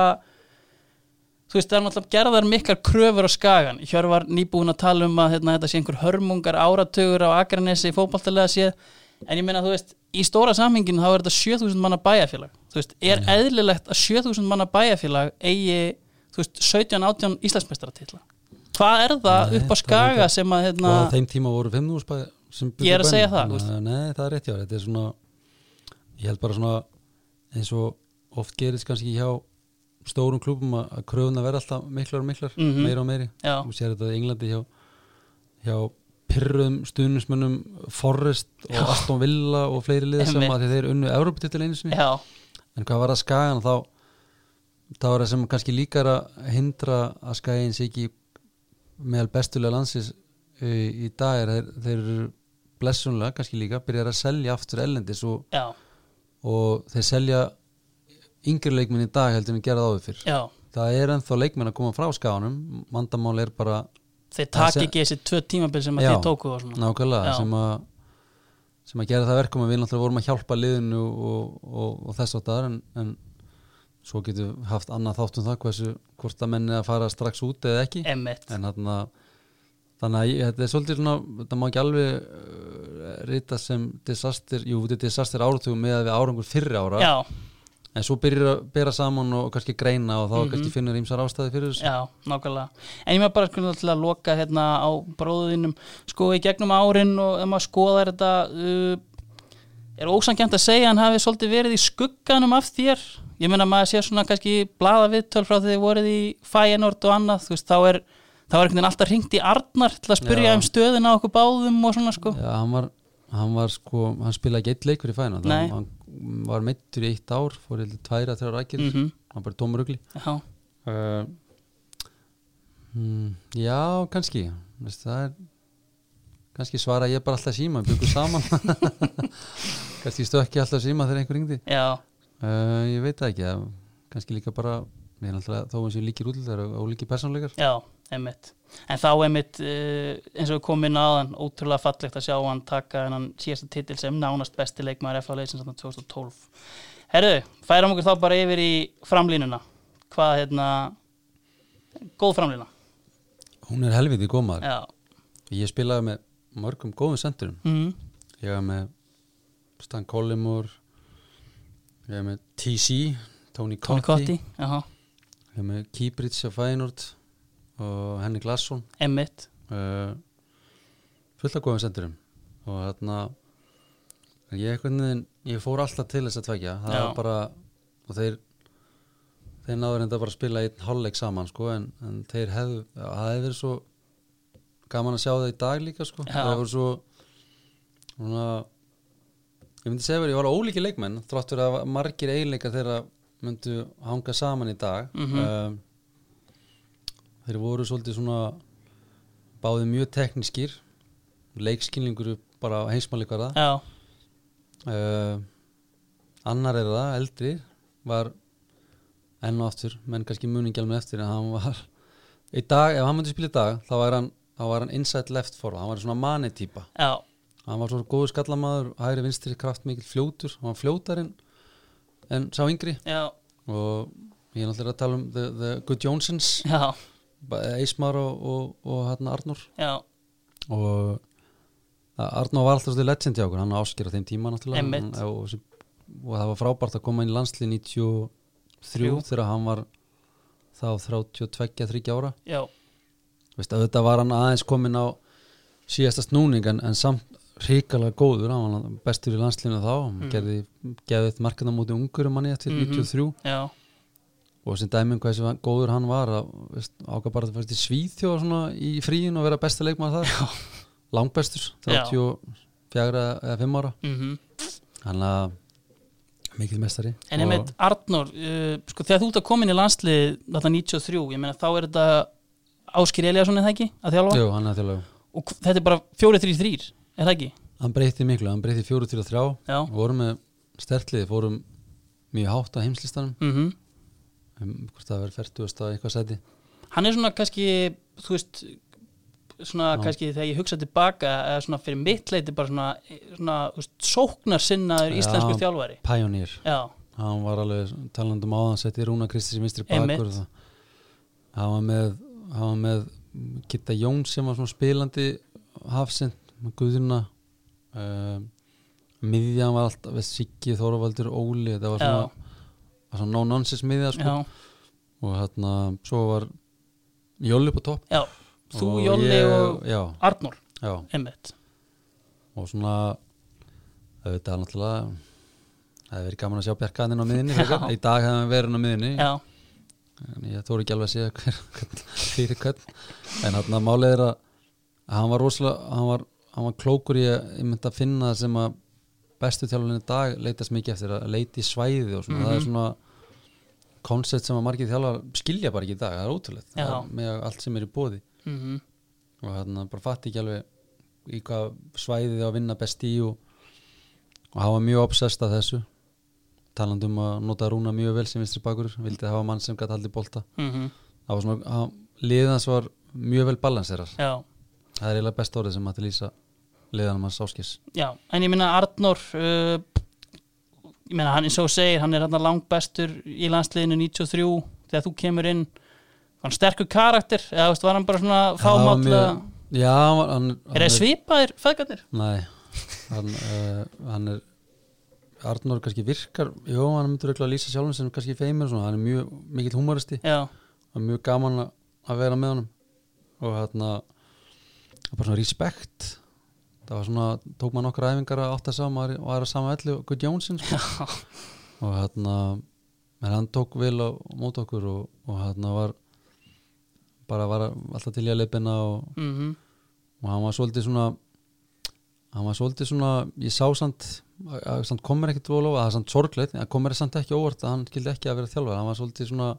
C: þú veist, það er náttúrulega gerðar miklar kröfur á skagan Hjör var nýbúin að tala um að hérna, þetta sé einhver hörmungar áratugur á Akranesi fótboltalega séð en ég meina, þú veist, í stóra samhenginu þá er þetta 7000 manna bæjarfélag þú veist, er eðlilegt að 7000 manna bæjarfélag eigi, þú veist, 17-18 Íslandsmeistaratitla hvað er það
B: Nei,
C: upp á
B: það er Sko,
C: skaga
B: ekki-
C: sem að hérna,
B: og á þeim tíma voru 5 úrspæð
C: Ég er að segja það, þú veist.
B: nei, það er rétt hjá, þér. þetta er svona ég held bara svona eins og oft gerist kannski hjá stórum klúbum að að kröfuna verða alltaf miklar og miklar,
C: Mhm.
B: meira og meiri
C: Já.
B: og sér þetta í Englandi hjá hjá pyrruðum stuðnismönnum Forrest og Aston Villa og fleiri liða sem
C: Einmitt.
B: að því þeir unnu Evropatitil einu sinni
C: já,
B: en hvað var að skagan þá þá er það sem kannski líkar að hindra að skagin sé ekki meðal bestulega landsins uh, í dag er þeir, þeir eru blessunlega kannski líka byrjar að selja aftur ellendis og,
C: já,
B: og þeir selja yngri leikminn í dag heldur en gera það áður fyrr
C: já
B: það er ennþá leikminn að koma frá skaganum vandamál er bara
C: þeir
B: Það
C: taki
B: sem-
C: ekki þessi tvö tímabil sem að
B: Já.
C: þeir tóku og svona
B: nákvæmlega
C: Já.
B: sem að sem að gera það verkum að við náttúrulega vorum að hjálpa liðinu og, og, og þess að það en, en svo getur haft annað þátt um það hversu hvort að menni að fara strax út eða ekki
C: emmitt,
B: en þarna þannig að ég, þetta er svolítið svona þetta má ekki alveg uh, rita sem disaster, jú þetta er disaster áratugum með að við árangur fyrri ára
C: já,
B: en svo byrjar að bera saman og kannski greina og þá
C: Mhm.
B: kannski finnur ímsar ástæði fyrir þessu
C: já, nákvæmlega en ég maður bara skulum til að loka hérna á bróðinum, sko í gegnum árin og ef maður skoðar þetta uh, er ósangjönd að segja að hann hafi svolítið verið í skugganum af þér ég meina maður sé svona kannski blaða viðtöl frá þegar þið voruð í Fæinort og annað, þú veist, þá er þá er einhvern veginn alltaf hringt í Arnar til að spyrja
B: Já.
C: um stöðina á okkur báðum og svona sko
B: Já, hann var, hann var sko, hann spilaði ekki eitt leik fyrir fæna
C: Nei.
B: þannig hann var meittur í eitt ár fór heldur tværa, þrjá rækir mm
C: Mhm. Eh.
B: hann bara tómur ugli
C: já,
B: uh. mm, Já, kannski Vist, það er kannski svara ég bara alltaf síma, byggur saman kannski stökki alltaf síma þegar einhver ringdi
C: já,
B: uh, ég veit það ekki, það- kannski líka bara við erum alltaf þó að séu líkir útlýðar og ólíkir persónleikar
C: Já, einmitt. En þá einmitt, uh, eins og við komum inn aðan, ótrúlega fallegt að sjá hann taka hennan síðasta titil sem nánast besti leikmaður FA leysins þarna 2012. Herru, færum okkur þá bara yfir í framlínuna. Hvað, hérna, góð framlína.
B: Hún er helviti gómaður,
C: Já,
B: ég spilaði með mörgum góðum sendurum
C: mm.
B: Ég var með Stan Collymore Ég var með TC Tony
C: Tony Cotti,
B: Cotti,
C: já,
B: Ég var með Kýbrits af Feyenoord og Henning Larsson
C: einmitt.
B: uh, fullt af góðum sendurum og þarna en ég, einhvern veginn, ég fór alltaf til þess að tvekja það
C: Já.
B: var bara og þeir þeir náður enda bara að spila einn hálfleik saman sko, en, en þeir hefðu það hefði verið svo gaman að sjá það í dag líka sko.
C: Já.
B: það hefur svo svona, ég myndi segja verið ég var ólíki leikmenn þráttur að margir eiginleika þeirra myndu hanga saman í dag Ehm,
C: Mhm.
B: um, þeir voru svolítið svona báði mjög teknískir leikskilningur bara á heimsmáli hverða
C: já,
B: uh, annar er það, eldri var enn og aftur, menn kannski muningi alveg eftir en hann var í dag, ef hann myndi spila í dag þá var hann, þá var hann inside left forward hann var svona mani típa
C: já,
B: hann var svona góður skallamaður, hægri vinstri kraftmikil fljótur, hann var fljótarinn en sá yngri
C: já,
B: og ég er náttúrulega að tala um The, the Good Johnsons
C: já,
B: Eismar og, og, og hérna Arnur
C: já,
B: og Arnur var alltaf svolítið legend í okkur, hann áskir á þeim tíma náttúrulega
C: Einmitt.
B: Hann- og, og, og það var frábært að koma inn í landslið 93
C: Þrjú.
B: þegar hann var þá 32-30 ára
C: já,
B: Veist, auðvitað var hann aðeins komin á síðasta snúning en, en samt hrikalega góður, hann var bestur í landslinu þá, hann
C: Mm.
B: gerði, gerði eitt markana móti ungurum manni eftir
C: Mhm.
B: 93
C: já,
B: og sem dæmum hvað þessi góður hann var að veist, ákvað bara að fæst í Svíþjóð svona í fríin og vera besta leikmann þar langbestur, 34 eða 5 ára
C: mhm
B: hann að mikil mestari
C: En
B: Og-
C: einmitt Arnór, uh, sko þegar þú ert að koma inn í landslið þetta 93, ég meina þá er þetta Áskir Eliasson er það ekki að þjálfa
B: Jú, hann er þjálfur.
C: og hv- þetta er bara 4-3-3, er það ekki?
B: hann breytti miklu, hann breytti 4-3
C: Já,
B: vorum með stertliði, fórum mjög hátt á heimslistanum
C: mhm
B: um, hvort það verður 40 að eitthvað seti
C: hann er svona kannski þú veist svona
B: Já.
C: kannski þegar ég hugsa tilbaka eða svona fyrir mitt leiti bara svona, svona þú veist, sóknarsinnaður
B: Já.
C: íslenskur þjálfari
B: Pioneer,
C: já,
B: hann var alveg talandum á hann, setti Rúna Kristi sem vinstri
C: Einmitt.
B: bakur og það. hann var með hann var með Kitta Jóns sem var svona spilandi hafsind, Guðurna uh, miðjan var alltaf veist, Siggi, Þorvaldur, Óli þetta var
C: já,
B: svona, var svona no-nonsense miðja sko.
C: já,
B: og hérna, svo var Jolli på topp
C: já þú,
B: og
C: Jólli
B: ég-
C: og
B: já,
C: Arnór
B: já,
C: einmitt,
B: og svona auðvitað er náttúrulega það hefði verið gaman að sjá bjarkaðin á miðinni frekar. í dag hefði hann verið hann á miðinni
C: já,
B: en ég þóri ekki alveg að segja hver, hvern, fyrir hvern en hann að málið er að hann var rosalega hann var, hann var klókur í að ég myndi að finna það sem að bestu þjálfurinn í dag leitast mikið eftir að leita í svæði og svona það er
C: Mhm.
B: svona koncept sem að margir þjálfar skilja bara ekki í dag, það er ótrúlegt
C: Já.
B: Það er með allt sem er í bóði
C: mhm
B: og hérna bara fatti ekki alveg í hvað svæðið á að vinna best í og, og hafa mjög obsessed að þessu talandi um að nota Rúna mjög vel sem vinstri bakur vildi hafa mann sem gæti haldið bolta
C: mhm
B: það var svona, hann- liðið hans var mjög vel balanserar,
C: já,
B: það er eiginlega best orðið sem að til lýsa liðanum hans áskis
C: já, en ég minna Arnór uh, ég minna hann eins og þú segir hann er hann langbestur í landsliðinu 93 þegar þú kemur inn var hann sterkur karakter eða þú veist, var hann bara svona
B: var
C: fámátt
B: mjög- já, hann, var- hann, hann
C: er það svipaðir feðgarnir?
B: nei, hann, uh, hann er Arnór kannski virkar, jú, hann myndur ekki að lýsa sjálfum sem kannski feimur og svona, hann er mjög mikill humoristi
C: Já,
B: það var mjög gaman að- að vera með honum og hérna það var bara svona respekt það var svona, tók maður nokkra æfingar að átta saman og var að sama ellu og Guð Jónsson sko. og hérna en hann tók vel á mót okkur og, og hérna var bara var alltaf til í að leipina og,
C: mhm
B: og hann var svolítið svona hann var svolítið svona ég sá samt, að- að samt komur ekkit vol á, að það er samt sorgleit, að komur samt ekki á óvart að hann skildi ekki að vera þjálfur, hann var svolítið svona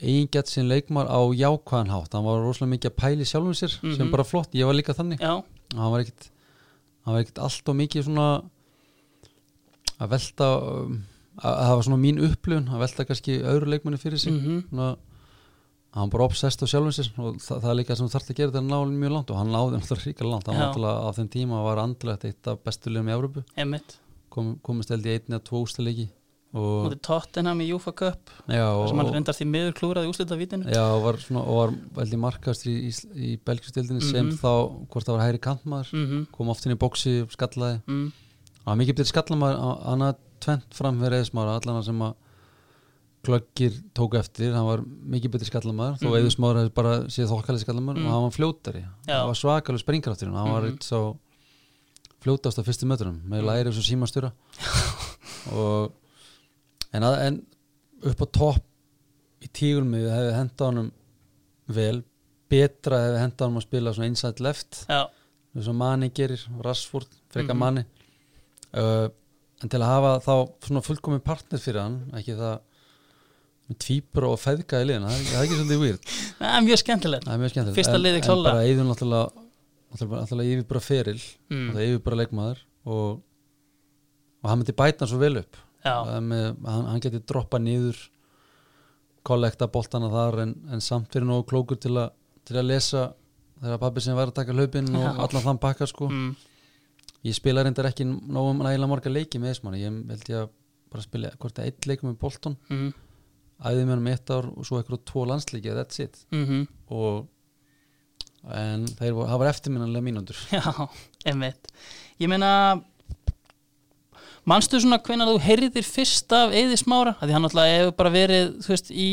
B: eigingett sinn leikmar á jákvæðan hátt hann var rosalega mikið að pæli sjálfum sér sem
C: Mhm.
B: bara flott, ég var líka þannig
C: Já,
B: hann var ekkit, hann var ekkit allt og mikið svona að velta um, að, að það var svona mín upplifun, að velta kannski öðru leikmanni fyrir sig
C: mhm,
B: svona, hann bara obsessed á sjálfum sér og það, það er líka sem þú þarft að gera þetta náðin mjög langt og hann náði náttúrulega ríkala langt hann
C: Já.
B: náttúrulega á þeim tíma var andilegt eitt af bestu liðum í Evrópu
C: einmitt
B: Kom, komist held í einni að tvo ústalegi og,
C: Móti Tottenham í UFA Cup
B: já,
C: þar
B: og,
C: sem hann reyndar því miður klúraði úslita vítinu
B: já, og var, svona, og var held ég markast í, í, í belgjustildinni sem
C: Mhm.
B: þá hvort það var hægri kantmaður
C: mhm,
B: kom oft inn í boksi, skallaði
C: mhm,
B: hann var mikið betur skallamaður annað tvent fram fyrir eðismára allana sem að klöggir tók eftir, hann var mikið betur skallamaður þó
C: Mhm.
B: mm hefði bara séð þokkalið skallamaður
C: Mhm.
B: og hann var fljótari,
C: Já.
B: hann var svakalega springrátturinn hann var
C: Mhm.
B: eitt svo fljótast á fyrstu mötunum, með
C: Mhm.
B: læri svo símastura og en, að, en upp á topp í tígulmið hefði henda honum vel, betra hefði henda honum að spila svona inside left
C: Já,
B: eins og Mani gerir, Rashford frekar mm
C: Mhm.
B: Mani uh, en til að hafa þá svona fullkomi partner fyrir hann ekki það með tvíbra og feðga í liðin það er, það er ekki svolítið weird
C: Það er mjög skemmtilegt
B: það er mjög skemmtilegt
C: Fyrsta
B: En-
C: liðið
B: en
C: klárlega.
B: bara Eyður náttúrulega náttúrulega náttúrulega yfir bara feril
A: Mm.
B: það yfir bara leikmaður og, og hann myndi bæta hann svo vel upp
C: Já,
B: Það með, hann, hann geti droppa niður kollekta boltana þar en, en samt fyrir nógu klókur til, a, til að lesa þegar pabbi sem var að taka hlaupin
C: Já.
B: og allan þann pakka sko
C: mm,
B: ég spila reyndar ekki nógum nægilega marga leiki með Ismann ég held ég að bara spila hvort það eitt leikum með bolton
C: mm,
B: æði með hann eitt ár og svo eitthvað tvo landsleiki that's it
C: mm
B: og en þeir voru, það var eftirminnilega mínúndur
C: Já, einmitt Ég meina Manstu svona hvenær þú heyrðir fyrst af Eði Smára? Af Því hann náttúrulega hefur bara verið, þú veist, í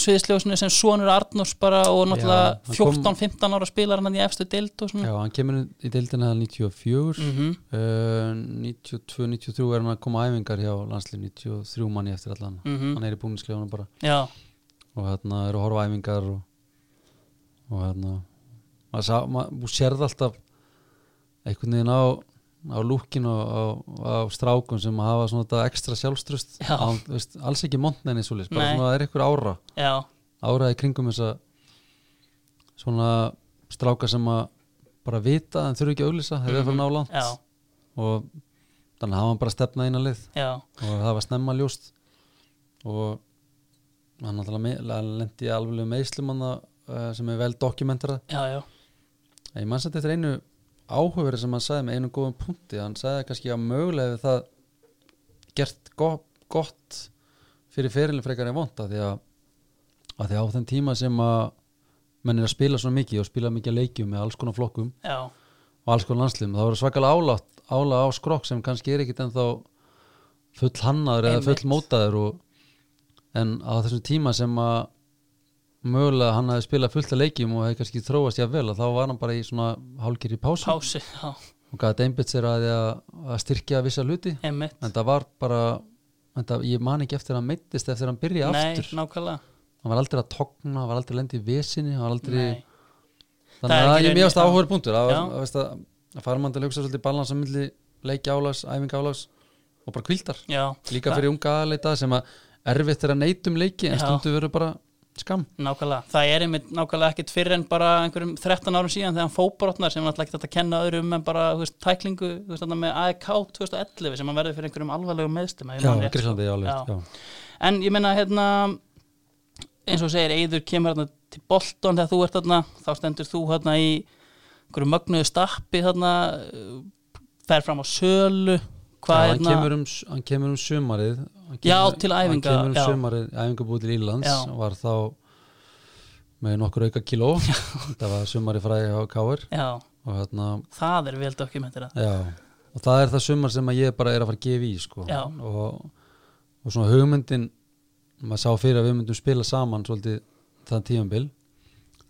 C: sviðisljósinu sem sonur Arnórs bara og náttúrulega
B: hann kom-
C: 14-15 ára spilar hann í efstu deild og svona
B: já, hann kemur inn í deildina 94
C: mm -hmm.
B: uh, 92-93 er hann að koma á æfingar hjá landslið 93 manni eftir allan
C: Mhm.
B: hann er í búninsklefanum bara
C: Já,
B: og hérna eru að horfa á æfingar og, og hérna maður, sá, maður þú sérð alltaf einhvern veginn á á lúkin og á, á strákum sem hafa svona þetta ekstra sjálfströst
C: Já.
B: Án- þú veist, alls ekki montnæni svo leys bara
C: Nei.
B: svona það er einhver ára
C: já,
B: áraði kringum þessa svona stráka sem að bara vita en þurfi ekki að auðlýsa þeir eru að fara ná langt
C: Mhm. já,
B: og þannig hafa hann bara stefnað inn að lið
C: já
B: og það var snemma ljóst og hann náttúrulega lendi í alveg meðslum hann uh, sem er vel dokumentarað
C: Já, já,
B: en ég mann satt eftir einu áhugverði sem hann sagði með einu góðum punkti hann sagði kannski að mögulega hefði það gert gott, gott fyrir fyrirlin frekar en vonda því að, að því að á þeim tíma sem að menn er að spila svona mikið og spila mikið að leikjum með alls konar flokkum
C: já,
B: og alls konar landsliðum þá verður svakalega álátt ála á skrokk sem kannski er ekkit ennþá full hannaður eða
C: Einmitt.
B: full mótaður og, en á þessum tíma sem að mögulega hann hafi spilað fullt af leikjum og hefði kannski þróast jáfnvel að þá var hann bara í svona hálgir í pásu
C: pási, já,
B: og gæti einbytt sér að, því að, að styrkja vissa hluti
C: einmitt
B: en það var bara en það, ég man ekki eftir að hann meittist eftir að hann byrja
C: Nei,
B: aftur
C: nákvæmlega
B: hann var aldrei að togna, hann var aldrei að lenda í vesinni hann var aldrei
C: Nei. Það
B: þannig
C: er
B: að
C: ekki
B: ég
C: raunin-
B: mjögast áhugur punktur að,
C: Já.
B: að, veist að, að fara mann til að hugsa svolítið balans á milli leikja álás, æfinga álás og bara kvíldar,
C: Já,
B: líka fyrir unga aðleita sem að erfitt er að neytum leiki en
C: Já.
B: stundu verður bara skam
C: Nákvæmlega, það er einmitt nákvæmlega ekkert fyrir en bara einhverjum 13 árum síðan þegar hann fóbrotnar sem hann alltaf ekki þetta að kenna öðrum en bara þú veist, tæklingu þú veist, þarna með E AEK 2011 sem hann verði fyrir einhverjum alvarlegum meðstum ef ég
B: Já,
C: man rétt,
B: Gríslandi, já,
C: sko.
B: alveg,
C: En ég meina hérna eins og þú segir Eidur kemur hérna til Bolton þegar þú ert hérna þá stendur þú hérna í einhverju mögnuðu stappi hérna uh, fer fram á sölu hvað
B: já, hann,
C: hérna
B: kemur um, s- hann kemur um sumarið hann kemur,
C: Já, til æfinga,
B: hann kemur um
C: já.
B: sumarið, æfingabúið til Ílands
C: Já.
B: var þá með nokkur auka kíló þetta var sumarið fræði á Káir
C: Já,
B: og hérna
C: það er vel dokumentir að
B: Já, og það er það sumar sem að ég bara er að fara að gefa í sko.
C: Já.
B: og, og svona hugmyndin maður sá fyrir að við myndum spila saman svolítið þann tímambil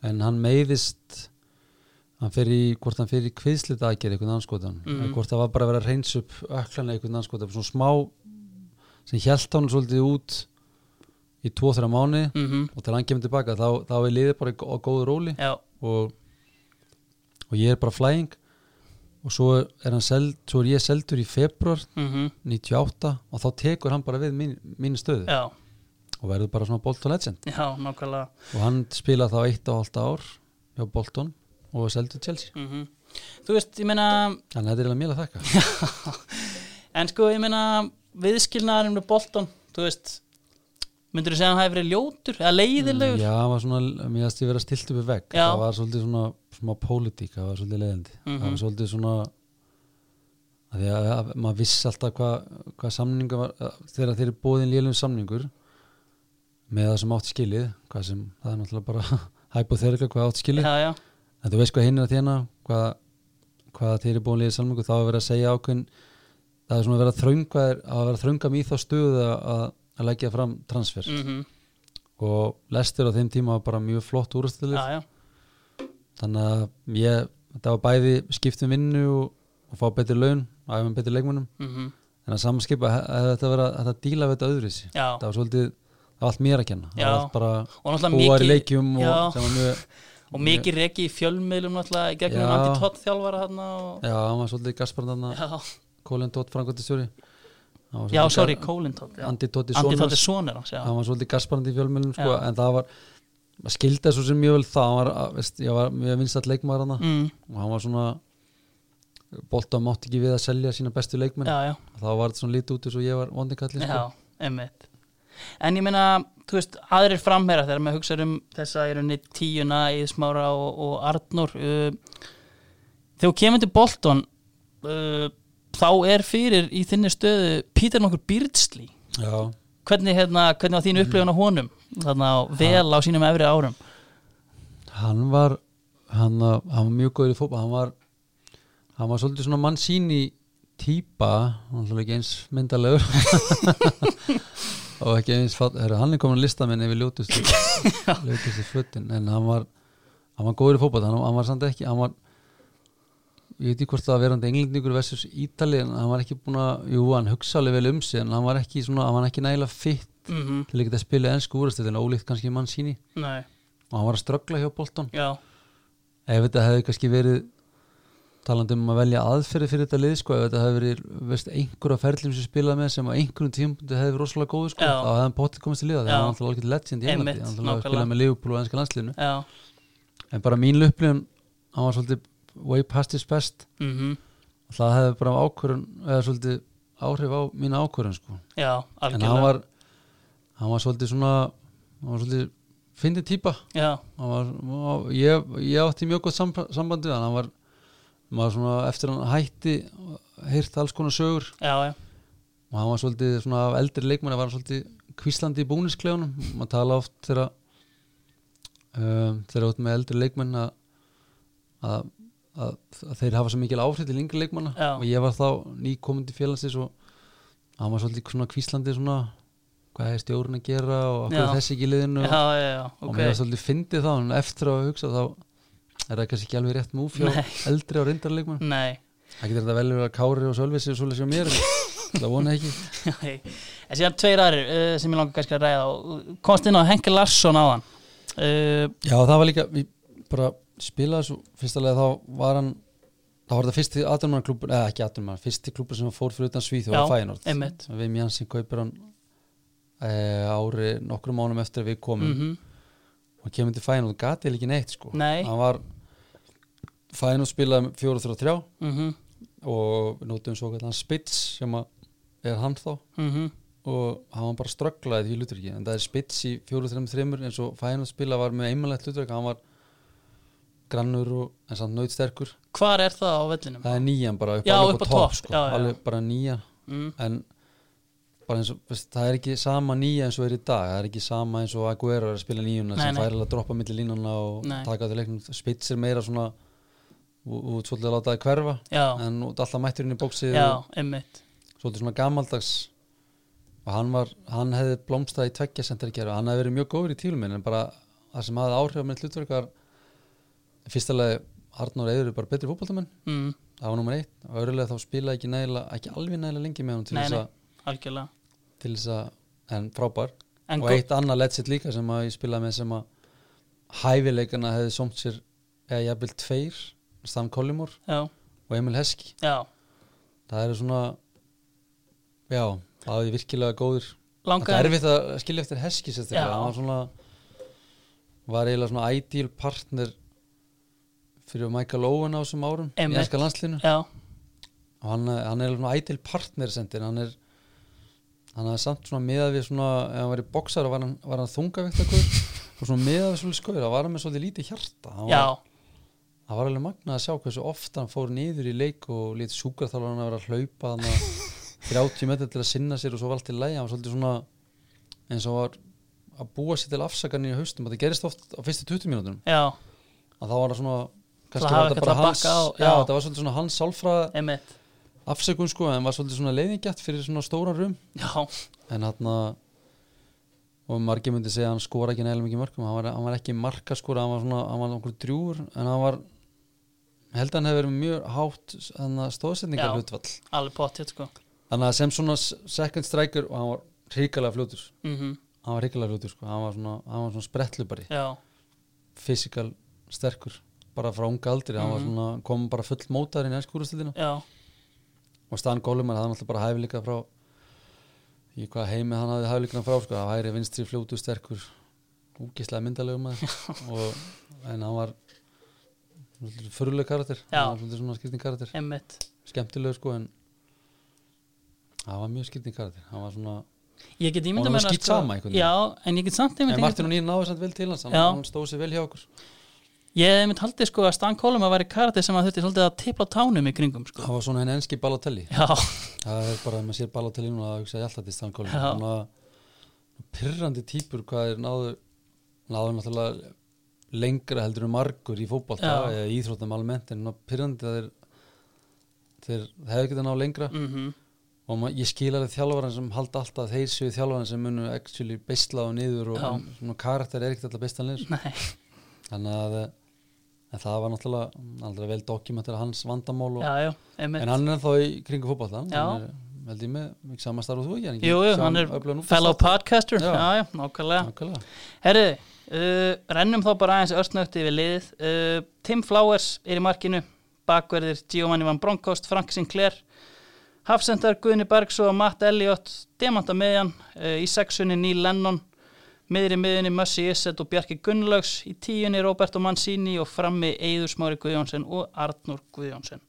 B: en hann meiðist hann fer í, hvort hann fer í kviðslita aðgerð einhvern anskotan,
C: Mhm.
B: mm. hvort það var bara að vera að reyns upp öklan einhvern anskotan, svona smá sem hjælt hann svolítið út í tvo-þra mánu
C: mm
B: og til hann kemur tilbaka þá, þá er liðið bara á góðu róli
C: Já,
B: og, og ég er bara flæðing og svo er, hann seld, svo er ég seldur í februar
C: mm
B: 98 og þá tekur hann bara við mín, mín stöðu
C: já,
B: og verður bara svona Bolton legend
C: já, nákvæmlega
B: og hann spilaði þá eitt og halvt ár hjá Bolton og var seldur Chelsea
C: -hmm. Þú veist, ég meina
B: þannig að þetta er eiginlega mér að þakka
C: en sko, ég meina viðskilnaðarinn með Bolton, þú veist myndur þú segja að hann hafi verið ljótur eða leiðilegur?
B: já, hann var svona, mér að stíð vera stilt upp við vegg
C: Já.
B: það var svolítið svona smá pólitík, það var svolítið leiðandi
C: Mhm.
B: það var svolítið svona að því að, að maður vissi alltaf hvað hva samninga var að, þegar þeir eru bóðin lélum samningur með það sem átti skilið hvað sem, það er náttúrulega bara hypothetical hvað átti skilið
C: já, já,
B: en þú veist hvað hinn er að þjána hvað, hvað þeir eru búin liðið samlingu þá er verið að segja ákveðin það er svona að vera að þrönga þér- að vera að þrönga mig í þá stöðu að, að leggja fram transfer
C: mm
B: og lestur á þeim tíma var bara mjög flott úrstilið
C: já, já,
B: þannig að ég, þetta var bæði skiptum vinnu og, og fá betri laun æfum betri leikmunum
C: mm
B: en að samanskipa hefði þetta verið að þetta díla við þetta öðruvísi
C: já
B: það var svolítið, það var allt mér að kenna það
C: Já.
B: var allt bara
C: og náttúrulega
B: búar í
C: mikið
B: leikjum
C: já.
B: og sem var mjög
C: og mikið reki í fjölmiðlum náttúrulega í gegnum
B: Já.
C: Andi Tótt þjálfara þarna og,
B: já, hann var svolítið gasparðan
C: já,
B: Colin Dodd frangotistjóri Hann var
C: já,
B: svolítið-
C: sorry, Colin Todd já.
B: Andi Totti
C: Andi
B: sonur
C: Todd
B: hans.
C: er sonur hans, já
B: hann var svolítið gasparandi í fjölmjölum sko,
C: Já.
B: en það var, maður skildi svo sem mjög vel það, hann var, að- veist, ég var mjög vinstall leikmaður hann
C: mm,
B: og hann var svona Bolta mátti ekki við að selja sína bestu leikmenn
C: já, já,
B: þá var þetta svona lítið út eins og ég var vondingalli
C: já,
B: sko.
C: einmitt en ég meina, þú veist, aðrir framherra þegar maður hugsa um þessa í rauninni tíuna, Íðsmára og, og Arnur uh, þegar þú kemur til Bolton uh, þá er fyrir í þinni stöðu Pítur nokkur Byrdsli
B: já,
C: hvernig, hérna, hvernig var
B: Mhm.
C: þín upplifun á honum þarna á vel á sínum efri árum
B: hann var hann, að- hann var mjög góður í fótball hann var, hann var svolítið svona mann sín í típa hann var ekki eins myndalegur og ekki eins fatt, heru, hann er komin að lista minni yfir ljótustu ljótustu fötin en hann var, hann var góður í fótball hann, hann var samt ekki hann var, ég veit ekki hvort það að verandi englendingur versus Ítali en hann var ekki búin að jú, hann hugsa alveg vel um sig en hann var ekki, svona, hann var ekki nægilega fitt
C: mm
B: til að geta að spila ennsku úrastöðin ólíkt kannski mann síni
C: nei,
B: og hann var að ströggla hjá boltan
C: já,
B: ef þetta hefði kannski verið talandi um að velja aðferði fyrir þetta lið sko, ef þetta hefði verið veist, einhverja ferðlum sem spilaði með sem á einhverjum tímpundi hefði verið rosalega góð sko,
C: Já.
B: þá hefði hann potið komist til liða
C: Já.
B: þegar hann alltaf alveg legend í Englandi
C: Einmitt,
B: hann alltaf
C: nákvæmlega.
B: spilaði með Liverpool og ennska landsliðinu
C: já
B: en bara mín upplifun, hann var svolítið way past his best
C: mm
B: og það hefði bara ákvörun eða svolítið áhrif á mína ákvörun sko.
C: já,
B: en
C: algjörlega
B: hann var hann var svolítið svona hann var svolítið fyndið típa
C: já,
B: Hann var, og ég, ég átti mjög gott samb sambandi við hann, hann var, maður svona eftir hann hætti heyrt alls konar sögur
C: já, já,
B: og hann var svolítið svona af eldri leikmanni var hann svolítið kvíslandi í búnisklefunum maður tala oft þegar að, um, þegar út með eldri leikmenn að, að, að, að þeir hafa svo mikil áhrif til yngri leikmanna
C: Já.
B: og ég var þá nýkomandi félagsins og hann var svolítið svona kvíslandi svona hvað er stjórn að gera og hvað
C: Já.
B: er þessi ekki í liðinu og-
C: já, já, já
B: og
C: ok,
B: mér var svolítið fyndið þá en eftir að hugsa þá er það kannski ekki alveg rétt múf hjá
C: Nei. Mm.
B: eldri og reyndarleikmann
C: nei
B: það getur þetta vel verið að Kári og Sölvi séu svolítið sem mér en það vona ekki
C: Nei. en síðan tveir aðrir uh, sem ég langar kannski að ræða og uh, komst inn á Henke Larsson á hann uh,
B: já það var líka, við bara spilaði svo fyrsta lega þá var hann þá var þetta fyrsti aðdurmannarklubur eða ekki aðdurmannar, fyrsti klubur sem hann fór fyrir utan Svíð og
C: Já,
B: var Fæinort
C: einmitt.
B: við Jansson kaupir hann e, ári nokkrum mánum eftir að við komum
C: mm
B: og kemur til Fæinort, gati ekki neitt sko
C: Nei.
B: hann var Fæinort spilaði 4-3-3
C: mhm,
B: og við notum svo kallan spits sem að er hann þá
C: mhm,
B: og hann var bara strögglaði því hlutverki en það er spits í 4-3-3 eins og fæðin að spila var með einmannlegt hlutverk hann var grannur og en samt nöyt sterkur
C: hvar er það á vellinum?
B: það er nýjan bara upp,
C: Já,
B: alveg
C: upp á topp,
B: sko.
C: já, já, já.
B: alveg bara nýjan
C: Mm,
B: en bara eins og veist, það er ekki sama nýja eins og er í dag það er ekki sama eins og Aguero er að spila nýjuna
C: Nei,
B: sem
C: nei.
B: fær alveg að droppa milli línana og
C: Nei.
B: taka til leiknum spits er meira svona og, og svolítið að láta það hverfa
C: já,
B: en út alltaf mætturinn í bóksið og
C: já, einmitt
B: svolítið svona gamaldags og hann var, hann hefði blómstað í tveggja sentergerð og hann hefði verið mjög góður í tíluminn en bara það sem hafði áhrif á mitt hlutverk var fyrstulega Arnór Eður er bara betri fótboltamenn
C: mm,
B: það var nummer eitt og öðrulega þá spilaði ekki nægilega, ekki alveg nægilega lengi með hann til
C: Nei,
B: þess
C: nei,
B: að,
C: algjörlega
B: til þess að, en frábær
C: en,
B: og
C: gó-
B: eitt annað letsitt líka sem að ég spilaði með sem að hæfileikana hefði somt sér eða jafnvel tveir, Stan Collymore
C: já,
B: og Emil Heski
C: já,
B: það eru svona já, það er virkilega góður
C: langar
B: Þetta er erfitt að skilja eftir Heski
C: Já.
B: sérstaklega, hann var svona var eiginlega svona ideal partner fyrir Michael Owen á þessum árum
C: Einmitt.
B: í enska landslinu
C: já,
B: og hann, hann er svona ideal partner sendir, hann er hann hafði samt svona miðað við svona ef hann var í boksar var hann, var hann þungavektakur og svona miðað við svolítið skauður, hann var hann með svolítið lítið hjarta hann
C: já,
B: var, hann var alveg magnað að sjá hversu oft hann fór niður í leik og lítið sjúkarþálar hann að vera að hlaupa hann að 30 metri til að sinna sér og svo var allt í lægi hann var svolítið svona eins og var að búa sér til afsakanir í haustum og það gerist oft á fyrstu 20 mínútum
C: já,
B: að það var svona kannski
C: hafa
B: var þetta
C: eitthvað
B: bara
C: að
B: hans
C: bakka á,
B: já,
C: já.
B: það var svolítið svona hans sálfra
C: einmitt
B: afsökun sko en var svolítið svona leiðingjætt fyrir svona stóran rum
C: já,
B: en hann og margir myndi segja að hann skora ekki nægilega mikið mörgum hann var, hann var ekki markaskora, hann var svona hann var okkur drjúur en hann var ég held að hann hefur verið með mjög hátt stóðsetningar hlutvall
C: alveg pottið sko
B: þannig að sem svona s- second striker og hann var hrikalega fljótur
C: mhm,
B: hann var hrikalega fljótur sko, hann var svona, hann var svona sprettlubari
C: já,
B: fysikal sterkur bara frá unga aldri, hann var
C: Mhm.
B: svona kom bara full mótar inn í ennskúrastildina
C: já,
B: og Stan Gólumann, hann alltaf bara hæfileika frá í hvað heimi hann hafði haflíkna frá sko, það væri vinstri fljótu sterkur úkislega myndalegu maður og, en hann var fyrirleg karakter
C: Já.
B: hann var svolítið svona skipting karakter
C: emmitt
B: skemmtilegur sko en hann var mjög skipting karakter hann var svona,
C: ég get
B: Og
C: ímynda
B: hann
C: mér sko-
B: var skýt sama einhvern veginn.
C: já, en ég get samt
B: en
C: ímynda
B: Martin og Nýr náði samt vel til hans hann,
C: Já.
B: hann stóð sér vel hjá okkur
C: ég hef einmitt haldið sko að Stan Kolum að væri karate sem að þurfti svolítið að tipla á tánum í kringum sko
B: hann var svona henni enski balatelli
C: já,
B: það er bara að maður sér balatelli núna það hugsaði ég alltaf til stankóli
C: Já.
B: hann var pyrrandi típur hvað er náðu náðu náttúrulega lengra heldur um margur í fótbolta
C: Já.
B: eða í íþróttum almennt en pyrrandi það er þeir það hefur getað náðu lengra
C: mhm
B: og ma- ég skil alveg þjálfarinn sem halda alltaf að þeir séu þjálfarinn sem munu actually beisla og niður og
C: Já.
B: en svona karakter er ekkert alltaf beislanir
C: Nei,
B: þannig að en það var náttúrulega aldrei vel dokumentar hans vandamál og,
C: já, já, einmitt
B: en hann er þá í kringu fótbolta
C: Já.
B: hann er, held ég með, mikið samastar og þú ekki
C: Jú, jú, hann er fellow podcaster Já,
B: Já.
C: já, nákvæmlega
B: Nákvæmlega.
C: Herru, uh, rennum þá bara aðeins örtnögt yfir liðið uh, Tim Flowers er í markinu Bakverðir Giovanni Van Bronckhorst, Frank Sinclair Hafsendar Guðni Bergs og Matt Elliot Demanta miðjan uh, Í sexunni Neil Lennon Miðri miðjunni Mössi Isset og Bjarki Gunnlaugs Í tíunni Roberto Mancini og frammi Eiður Smári Guðjónsson og Arnur Guðjónsson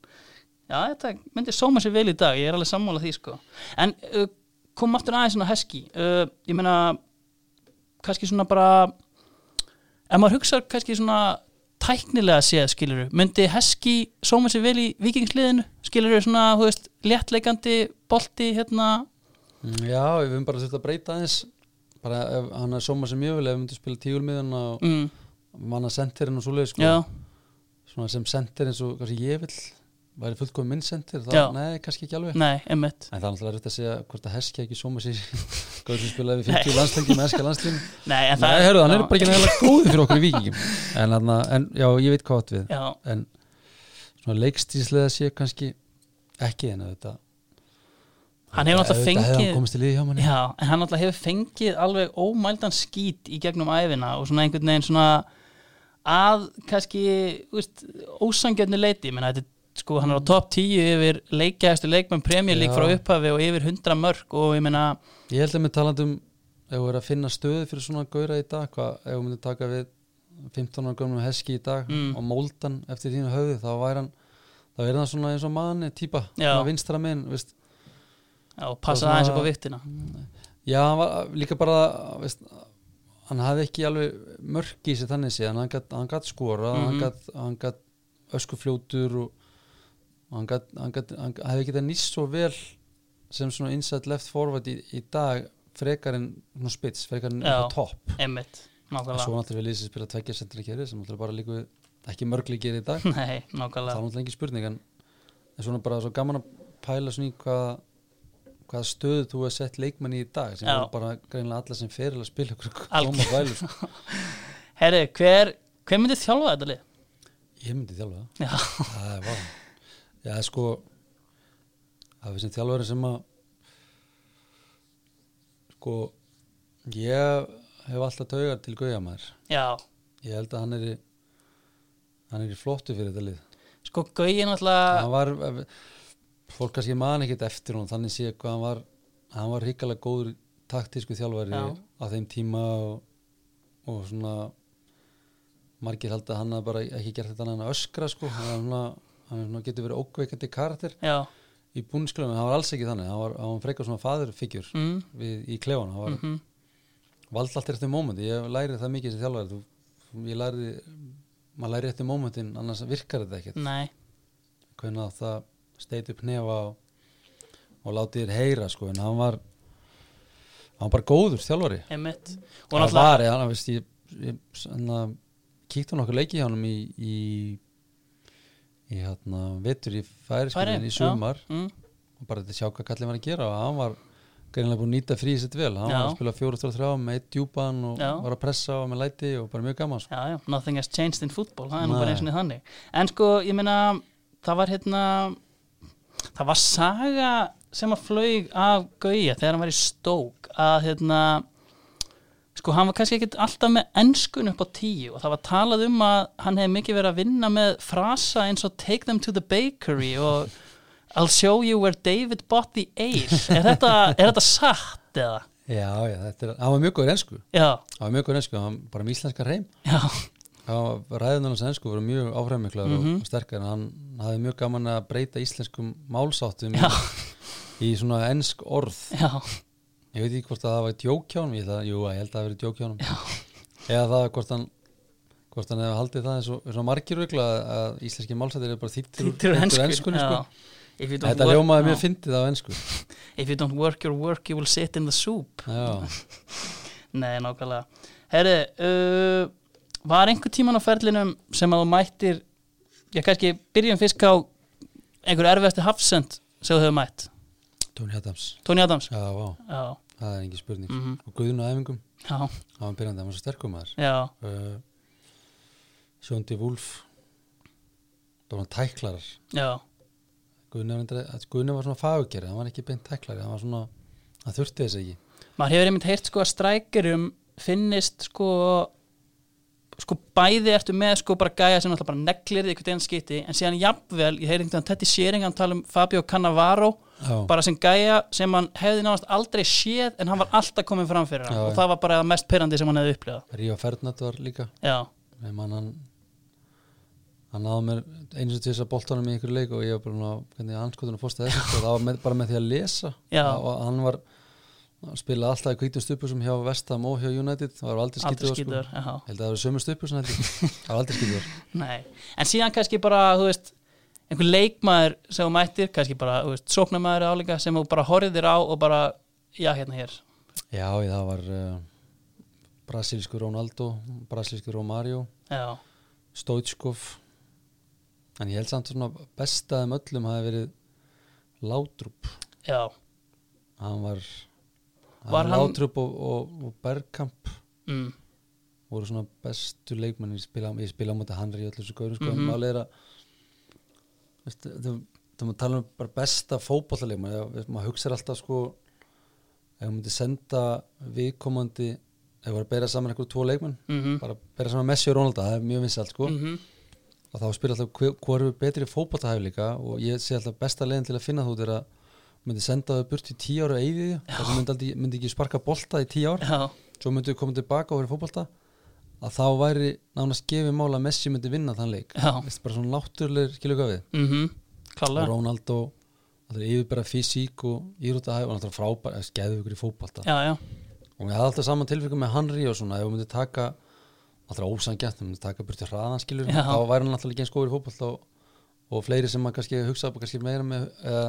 C: Já, þetta myndi sóma sér vel í dag, ég er alveg sammála því sko. En uh, kom aftur aðeins svona heski, uh, ég meina kannski svona bara ef maður hugsa kannski svona tæknilega séð skilur myndi heski sóma sér vel í vikingsliðinu skilur svona, þú veist, léttleikandi bolti hérna
B: Mm, já, við höfum bara þurft að breyta aðeins bara ef hann er sóma sem mjög vel ef við myndum spila tígulmiðan og
C: mm,
B: manna senterinn og svoleið sko.
C: já,
B: svona sem senter eins og kannski ég vil væri fullkomin minn senter,
C: Já. Mm.
B: þá, nei, kannski ekki alveg
C: nei, einmitt
B: En það er náttúrulega rétt að segja hvort að Heski ekki sóma sér Góður sem spilaði við 50 landslengi með Heska landslíðin
C: nei, en það
B: Nei, herru, hann er
C: já,
B: bara ekki nægilega góður fyrir okkur í vikingum en, þarna, en já, ég veit hvað átt við
C: já,
B: En svona leikstíslega sé kannski ekki en þetta
C: hann hefur náttúrulega
B: Þetta hefði hann
C: fengið
B: komist í liði hjá manni
C: já, en hann náttúrulega hefur fengið alveg ómældan skít í gegnum æfina og svona einhvern veginn svona að kannski þú veist, ósangjöfnu leiti, menn þetta er sko hann er á topp 10 yfir leikjæðastu leikmenn premjörlík
B: Mm. Já.
C: frá upphafi og yfir 100 mörg og ég meina
B: Ég held að með talandum ef við erum að finna stöðu fyrir svona gauðra í dag hvað, ef við myndum taka við 15 ára gömnum Heski í dag
C: Mm.
B: og móldan eftir þínu höfði, þá væri hann þá er það svona eins og manni típa
C: Já.
B: svona vinstra minn, veist
C: Já, og passa
B: Og svona-
C: aðeins upp á vittina
B: Já, hann var líka bara veist, hann hafði ekki alveg mörk í sig þannig séð, en hann gat, hann gat skora
C: Mhm.
B: hann, gat, hann gat öskufljótur og og hann, gat, hann, gat, hann hafði getað nýst svo vel sem svona inside left forward í, í dag frekar en svona spits, frekar en
C: Já.
B: eitthvað topp
C: Emmitt,
B: en svo
C: nákvæmlega
B: náttúrulega við lýsið spila tveggja sentri kæri sem náttúrulega bara líku ekki mörglíkir í dag
C: Nei,
B: það er
C: nákvæmlega
B: náttúrulega engin spurning en, en svona bara svo gaman að pæla svona í hvað hvaða stöðu þú hefur sett leikmann í í dag sem
C: Já.
B: er bara greinlega alla sem feril að spila okkur
C: Alg-
B: koma vælu sko.
C: Herri, hver, hver myndi þjálfa þetta lið?
B: ég myndi þjálfa það.
C: Já,
B: það er vá já sko það er sem þjálfari sem að sko ég hef alltaf taugar til Guðja maður
C: já
B: ég held að hann er í, hann er í flottu fyrir þetta lið
C: Sko, Gauji náttúrulega
B: hann var fólk kannski man ekkert eftir hún þannig sé hvað hann var hann var hrikalega góður taktísku þjálfari
C: Já.
B: á þeim tíma og, og svona margir held að hann hafi bara ekki gert þetta annað en að öskra sko hann, er svona, hann er svona getur verið ókveikandi karakter
C: Já,
B: í búnsklunum, hann var alls ekki þannig hann var, hann var frekar svona fadurfigjur
C: mm,
B: við, í klefan, hann var
C: mhm,
B: vald allt eftir mómenti, ég lærið það mikið sem þjálfari þú, ég lærið maður lærið eftir mómentin, annars virkar þetta ekkert
C: nei
B: hvernig að það steit upp nefa og, og látið þér heyra sko, en hann var hann var bara góður þjálfari
C: Emmitt Og
B: hann
C: náttúrulega,
B: var, hann veist ég, ég svona, kíkti hann okkur leiki hjá hann í í, í hérna, vetur í
C: Færeyjum,
B: færispilin í
C: já.
B: sumar
C: mm,
B: og bara þetta sjá hvað kallið var að gera og hann var greinlega búin að nýta fríið sitt vel hann
C: Já.
B: var að spila 4-3 með eitt djúpan og
C: Já.
B: var að pressa og með læti og bara mjög gaman sko.
C: já, já, nothing has changed in football Það er nú
B: Nei.
C: bara eins og niður þannig En sko, ég meina, það var hérna Það var saga sem að flög af Gauja þegar hann var í stók að hérna sko hann var kannski ekkit alltaf með ennskun upp á tíu og það var talað um að hann hefði mikið verið að vinna með frasa eins og take them to the bakery og I'll show you where David bought the ale er þetta, er þetta satt eða?
B: Já, já, þetta er, hann var mjög góður ensku
C: Já,
B: hann var mjög góður ensku, hann var bara með íslenska reym
C: já,
B: hann var ræðin hans ensku, voru mjög áframiklar
C: Mhm.
B: og sterkar, en hann hafði mjög gaman að breyta íslenskum málsáttum í,
C: já,
B: í svona ensk orð
C: já
B: ég veit ekki hvort að það var djókjánum ég það, jú, ég held að það hafi verið djókjánum eða það hvort hann hvort hann hefði haldið það eins og, eins og margir regla að íslenski málsættir eru bara þýttir úr-
C: Þýttur
B: úr
C: hensku
B: enskunni sko.
C: já. If you don't
B: þetta
C: work-
B: ljómaði
C: já.
B: mjög fyndið á ensku
C: If you don't work your work you will sit in the soup
B: já,
C: Nei, nákvæmlega Herri, uh, var einhver tíman á ferlinum sem að þú mættir Já, kannski byrjum fisk á einhver erfiðasti hafsend sem þú hefur mætt
B: Tony Adams
C: Tony Adams
B: já, vá,
C: Já,
B: það er engin spurning
C: Mhm.
B: og Guðun á æfingum,
C: já,
B: hann var byrjandi hann var svo sterkum maður
C: já,
B: uh, Sjóndi Wolf bara hann tæklarar
C: já
B: Guðun var, reyndar- að Guðni var svona fagugerið, hann var ekki beint tæklari hann var svona, hann þurfti þess ekki
C: Maður hefur einmitt heyrt sko að strækjurum finnist sko sko bæði ertu með sko bara gæja sem alltaf bara neglir því einhvern veginn skiti en síðan jafnvel, ég heyri einhvern veginn Teddy Sheringan tala um Fabio Cannavaro
B: já,
C: bara sem gæja sem hann hefði nánast aldrei séð en hann var alltaf komin fram fyrir hann
B: Já,
C: og
B: já.
C: það var bara það mest perandi sem hann hefði upplifað
B: Ríó Ferdinand var líka
C: Já,
B: ég man hann hann náði mér einu sem tvisa boltanum í ykkur leik og ég var bara svona, hvernig anskotunum fórst að þessu sko, það var með, bara með því að lesa
C: Já.
B: og hann var hann spilaði alltaf í kvítum stupusum hjá Vestam og hjá United það var aldrei
C: aldrei
B: skítur sko.
C: skýtur já,
B: held að það var sömu stupus held ég. það var aldrei skítur
C: Nei, en síðan kannski bara, þú veist einhver leikmaður sem þú mættir kannski bara, þú veist, sóknamaður eða áleika sem þú bara horfðir á og bara, já, hérna hér
B: já, ég, það var uh, brasilísku Ronaldo brasilísku Romario
C: Já,
B: Stoichkov en ég held samt svona bestaðum öllum hafi verið Látrúb
C: já,
B: hann var, hann
C: Var
B: var
C: hann-
B: Látrup og, og, og Bergkamp
C: mm,
B: voru svona bestu leikmenn ég spila, ég spila á móti Hanri í öllu þessu gaurum sko, mm
C: Mhm.
B: -hmm. er að veist, þú, þú maður tala um bara besta fótballaleikmenn eða, veist, maður hugsa alltaf sko ef maður myndi senda viðkomandi ef maður bera saman einhver tvo leikmenn
C: mm
B: bara bera saman Messi og Ronaldo, það er mjög vinsalt sko
C: mhm,
B: og þá spyrir alltaf hver- hvor er betri fótballtahæfleika og ég sé alltaf besta leiðin til að finna þú er að myndi senda þau burt í tíu ára eigið þar sem myndi, aldrei, myndi ekki sparka bolta í tíu ár
C: já,
B: svo myndi þau koma tilbaka og verið fótbolta að þá væri nánast gefið mála að Messi myndi vinna þann leik
C: Já.
B: Veist, bara svona náttúrulegur skilur hvað við
C: mhm
B: og
C: klálega,
B: Ronaldo það er yfirbæra fysík og írótahæf og náttúrulega frábær eða skeðu ykkur í fótbolta
C: já, já
B: og ég hafði alltaf saman tilfengu með Henry og svona ef hún myndi taka alltaf ósangjætt, hún myndi taka burti hraðan skilur
C: Já.
B: þá væri hann alltaf ekki eins góður í fótboll og, og fleiri sem maður kannski hugsa kannski meira með eða,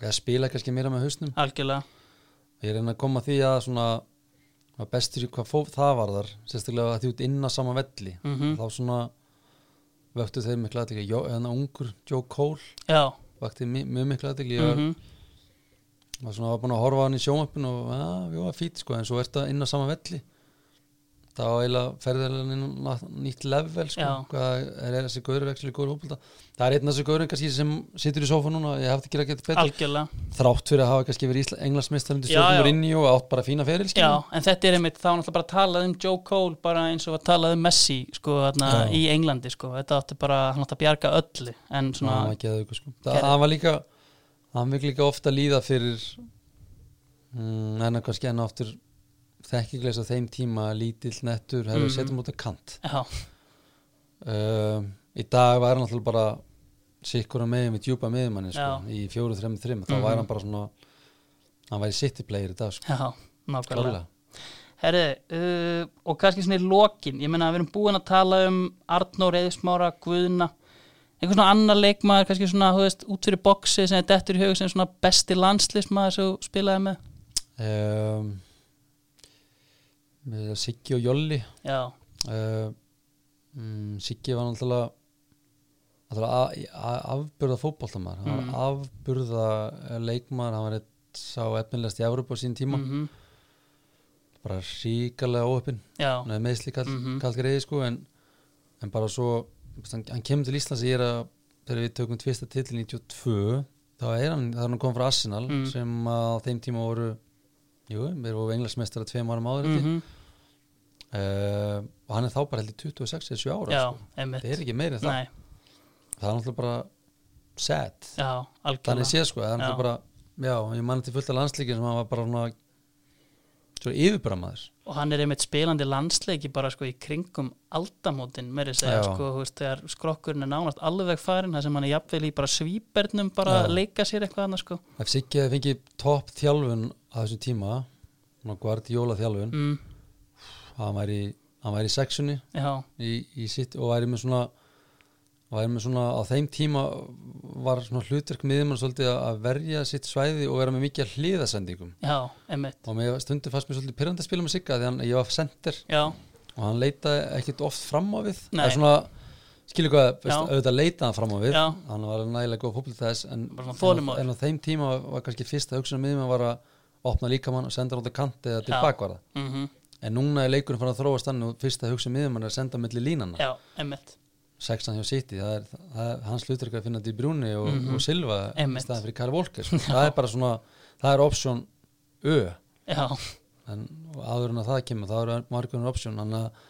B: eða spila kannski meira með hausnum
C: algjörlega,
B: ég reyna að koma að því að svona að bestur í hvað fó, það var þar sérstaklega að því út inn á sama velli
C: Mhm.
B: þá svona vöktu þeir mikla aðtekli, en ungur Joe Cole
C: já
B: vakti mi- mjög mikla aðtekli, ég var,
C: mhm,
B: var svona var búin að horfa á hann í sjónvöppinu og ja, við varum fít sko, en svo ertu inn á sama velli þá eiginlega ferðarlega inn á nýtt level sko,
C: Já.
B: hvað er, er þessi gaurur ekki góður hópulta það er einn af þessi gaurur kannski sem situr í sófa núna ég hafði ekki að geta betur
C: algjörlega
B: þrátt fyrir að hafa kannski verið Ísla- englandsmeistarinn til
C: Já, já.
B: stjórnum rinni og átt bara fína feril skilur.
C: Já, en þetta er einmitt, þá er náttúrulega bara talað um Joe Cole bara eins og var talað um Messi sko, þarna,
B: Já.
C: í Englandi, sko, þetta átti bara hann átti að bjarga öllu, en
B: Já,
C: svona
B: hann var geðveikur, sko. það,
C: Gerði.
B: hann var líka hann var líka ofta líða fyrir mm, en að kannski enn og aftur þekkingleis á þeim tíma lítill nettur, hefur
C: Mhm.
B: setjum út að kant
C: Já,
B: um, í dag var hann alltaf bara sikkur að meðin við djúpa meðmanni sko, í fjóru, þremmu, þremmu, þá
C: Mhm.
B: var hann bara svona hann væri sitt í player í dag sko,
C: já, nákvæmlega
B: klárlega
C: Herri, uh, og kannski svona í lokin ég meina, við erum búin að tala um Arnór, Eðismára, Guðna einhver svona annar leikmaður, kannski svona þú veist, út fyrir boxi sem er dettur í hug sem svona besti landslismaður sem þú spilaði með
B: um, með Siggi og Jolli
C: Já,
B: uh, mm, Siggi var náttúrulega náttúrulega a- a- afburða fótboltamar hann
C: Mhm.
B: var afburða eh, leikmaður, hann var eitt sá efnilegast í Evrópu á sín tíma
C: mhm,
B: bara ríkalega óöppin
C: já,
B: Nei, meðsli kall, mm
C: Mhm.
B: -hmm. kall greiði sko en, en bara svo hann, hann kemur til Íslands ég er að þegar við tökum tvista til 92 þá er hann, þá er hann kom frá Arsenal
C: Mm.
B: sem að á þeim tíma voru jú, við voru englansmestara tveim árum áður mm -hmm.
C: mhm,
B: og hann er þá bara held í 26 eða 7 ára
C: já,
B: sko.
C: einmitt
B: það er ekki meiri en það
C: Nei,
B: það er náttúrulega bara sad
C: já,
B: þannig
C: algjörlega
B: séð sko þannig
C: Já.
B: já. bara, já, ég mann til fullt af landslíkin sem hann var bara svona svo yfirbrammaður
C: og hann er einmitt spilandi landsleiki bara sko í kringum aldamótin meiri segja
B: Já.
C: sko, þú veist, þegar skrokkurinn er nánast alveg farin þar sem hann er jafnvel í bara svíbernum bara
B: Já.
C: að leika sér eitthvað annað sko
B: ef Siggi hefði fengið topp þjálfun að þessum tíma svona guardiola þjálfun
C: mm,
B: hann, væri, hann væri í sexunni
C: já,
B: í, í sitt og væri með svona væri með svona á þeim tíma var svona hlutverk miðjumann svolítið að verja sitt svæði og vera með mikið af hliðasendingum
C: já, einmitt
B: og mér stundu fannst mér svolítið pyrrandi að spila með Sigga því hann, ég var sendir
C: já,
B: og hann leitaði ekkit oft fram á við
C: Nei.
B: það er svona, skilur hvað veist,
C: Já.
B: auðvitað leitaði hann fram á við
C: Já.
B: hann var nægilega góð fótbolta þess en,
C: Bara svona
B: en, á,
C: þolinmóður.
B: en á þeim tíma var, var kannski fyrsta hugsunum miðjumann var að opna líkamann og senda hann á kanti eða til
C: Já.
B: bakvarða
C: mhm
B: en núna er leikurinn fann að þróast þannig og fyrsta hugsun miðjumann er að senda milli línana
C: já, einmitt
B: sexan hjá City, það er, það er hans hlutverk að finna þetta í brúni og, og Silva í
C: Mhm. Einmitt.
B: staðan fyrir Kyle Walker sko. það er bara svona, það er option Ö,
C: já,
B: en áður en að það kemur það eru margunir option þannig að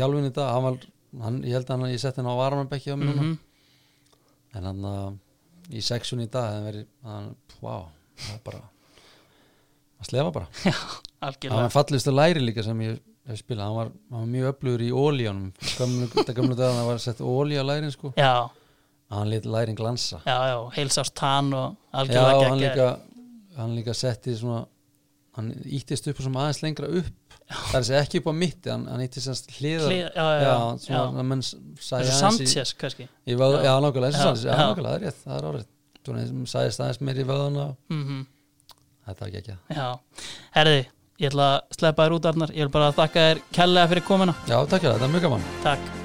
B: þjálfinn í dag, hann var hann, ég held að hann, ég sett hann á varamannbekki á mig núna
C: mhm,
B: en hann að í sexun í dag, hann verið hann, wow, það er bara að slefa bara, hann
C: algjörlega
B: var fallegustu læri líka sem ég hef spilað, hann var, hann var mjög öflugur í ólíunum, gamlu, gamlu dagann það var sett ólí á lærin sko
C: já,
B: hann lit lærin glansa
C: já, já, heilsást hann og
B: já,
C: algjörlega
B: hann
C: geggjaður.
B: líka, hann líka setti svona hann íttist upp og svona aðeins lengra upp það er að segja ekki upp á mitti hann, hann íttist hans hliðar
C: Hlið- já, já, já,
B: svona,
C: já.
B: að menn
C: Þessu
B: sagði aðeins í,
C: Sanchez kannski
B: í vöð, já, nákvæmlega, eins og
C: Já,
B: sanns já,
C: já.
B: nákvæmlega, það er rétt, það er árið svona, eins- sagðist aðeins meir í vöðuna
C: mhm
B: þetta er ekki ekki
C: Já, herði, ég ætla að sleppa þér út Arnar, ég vil bara þakka þér kærlega fyrir komuna,
B: já, takk fyrir það, þetta er mjög gaman
C: takk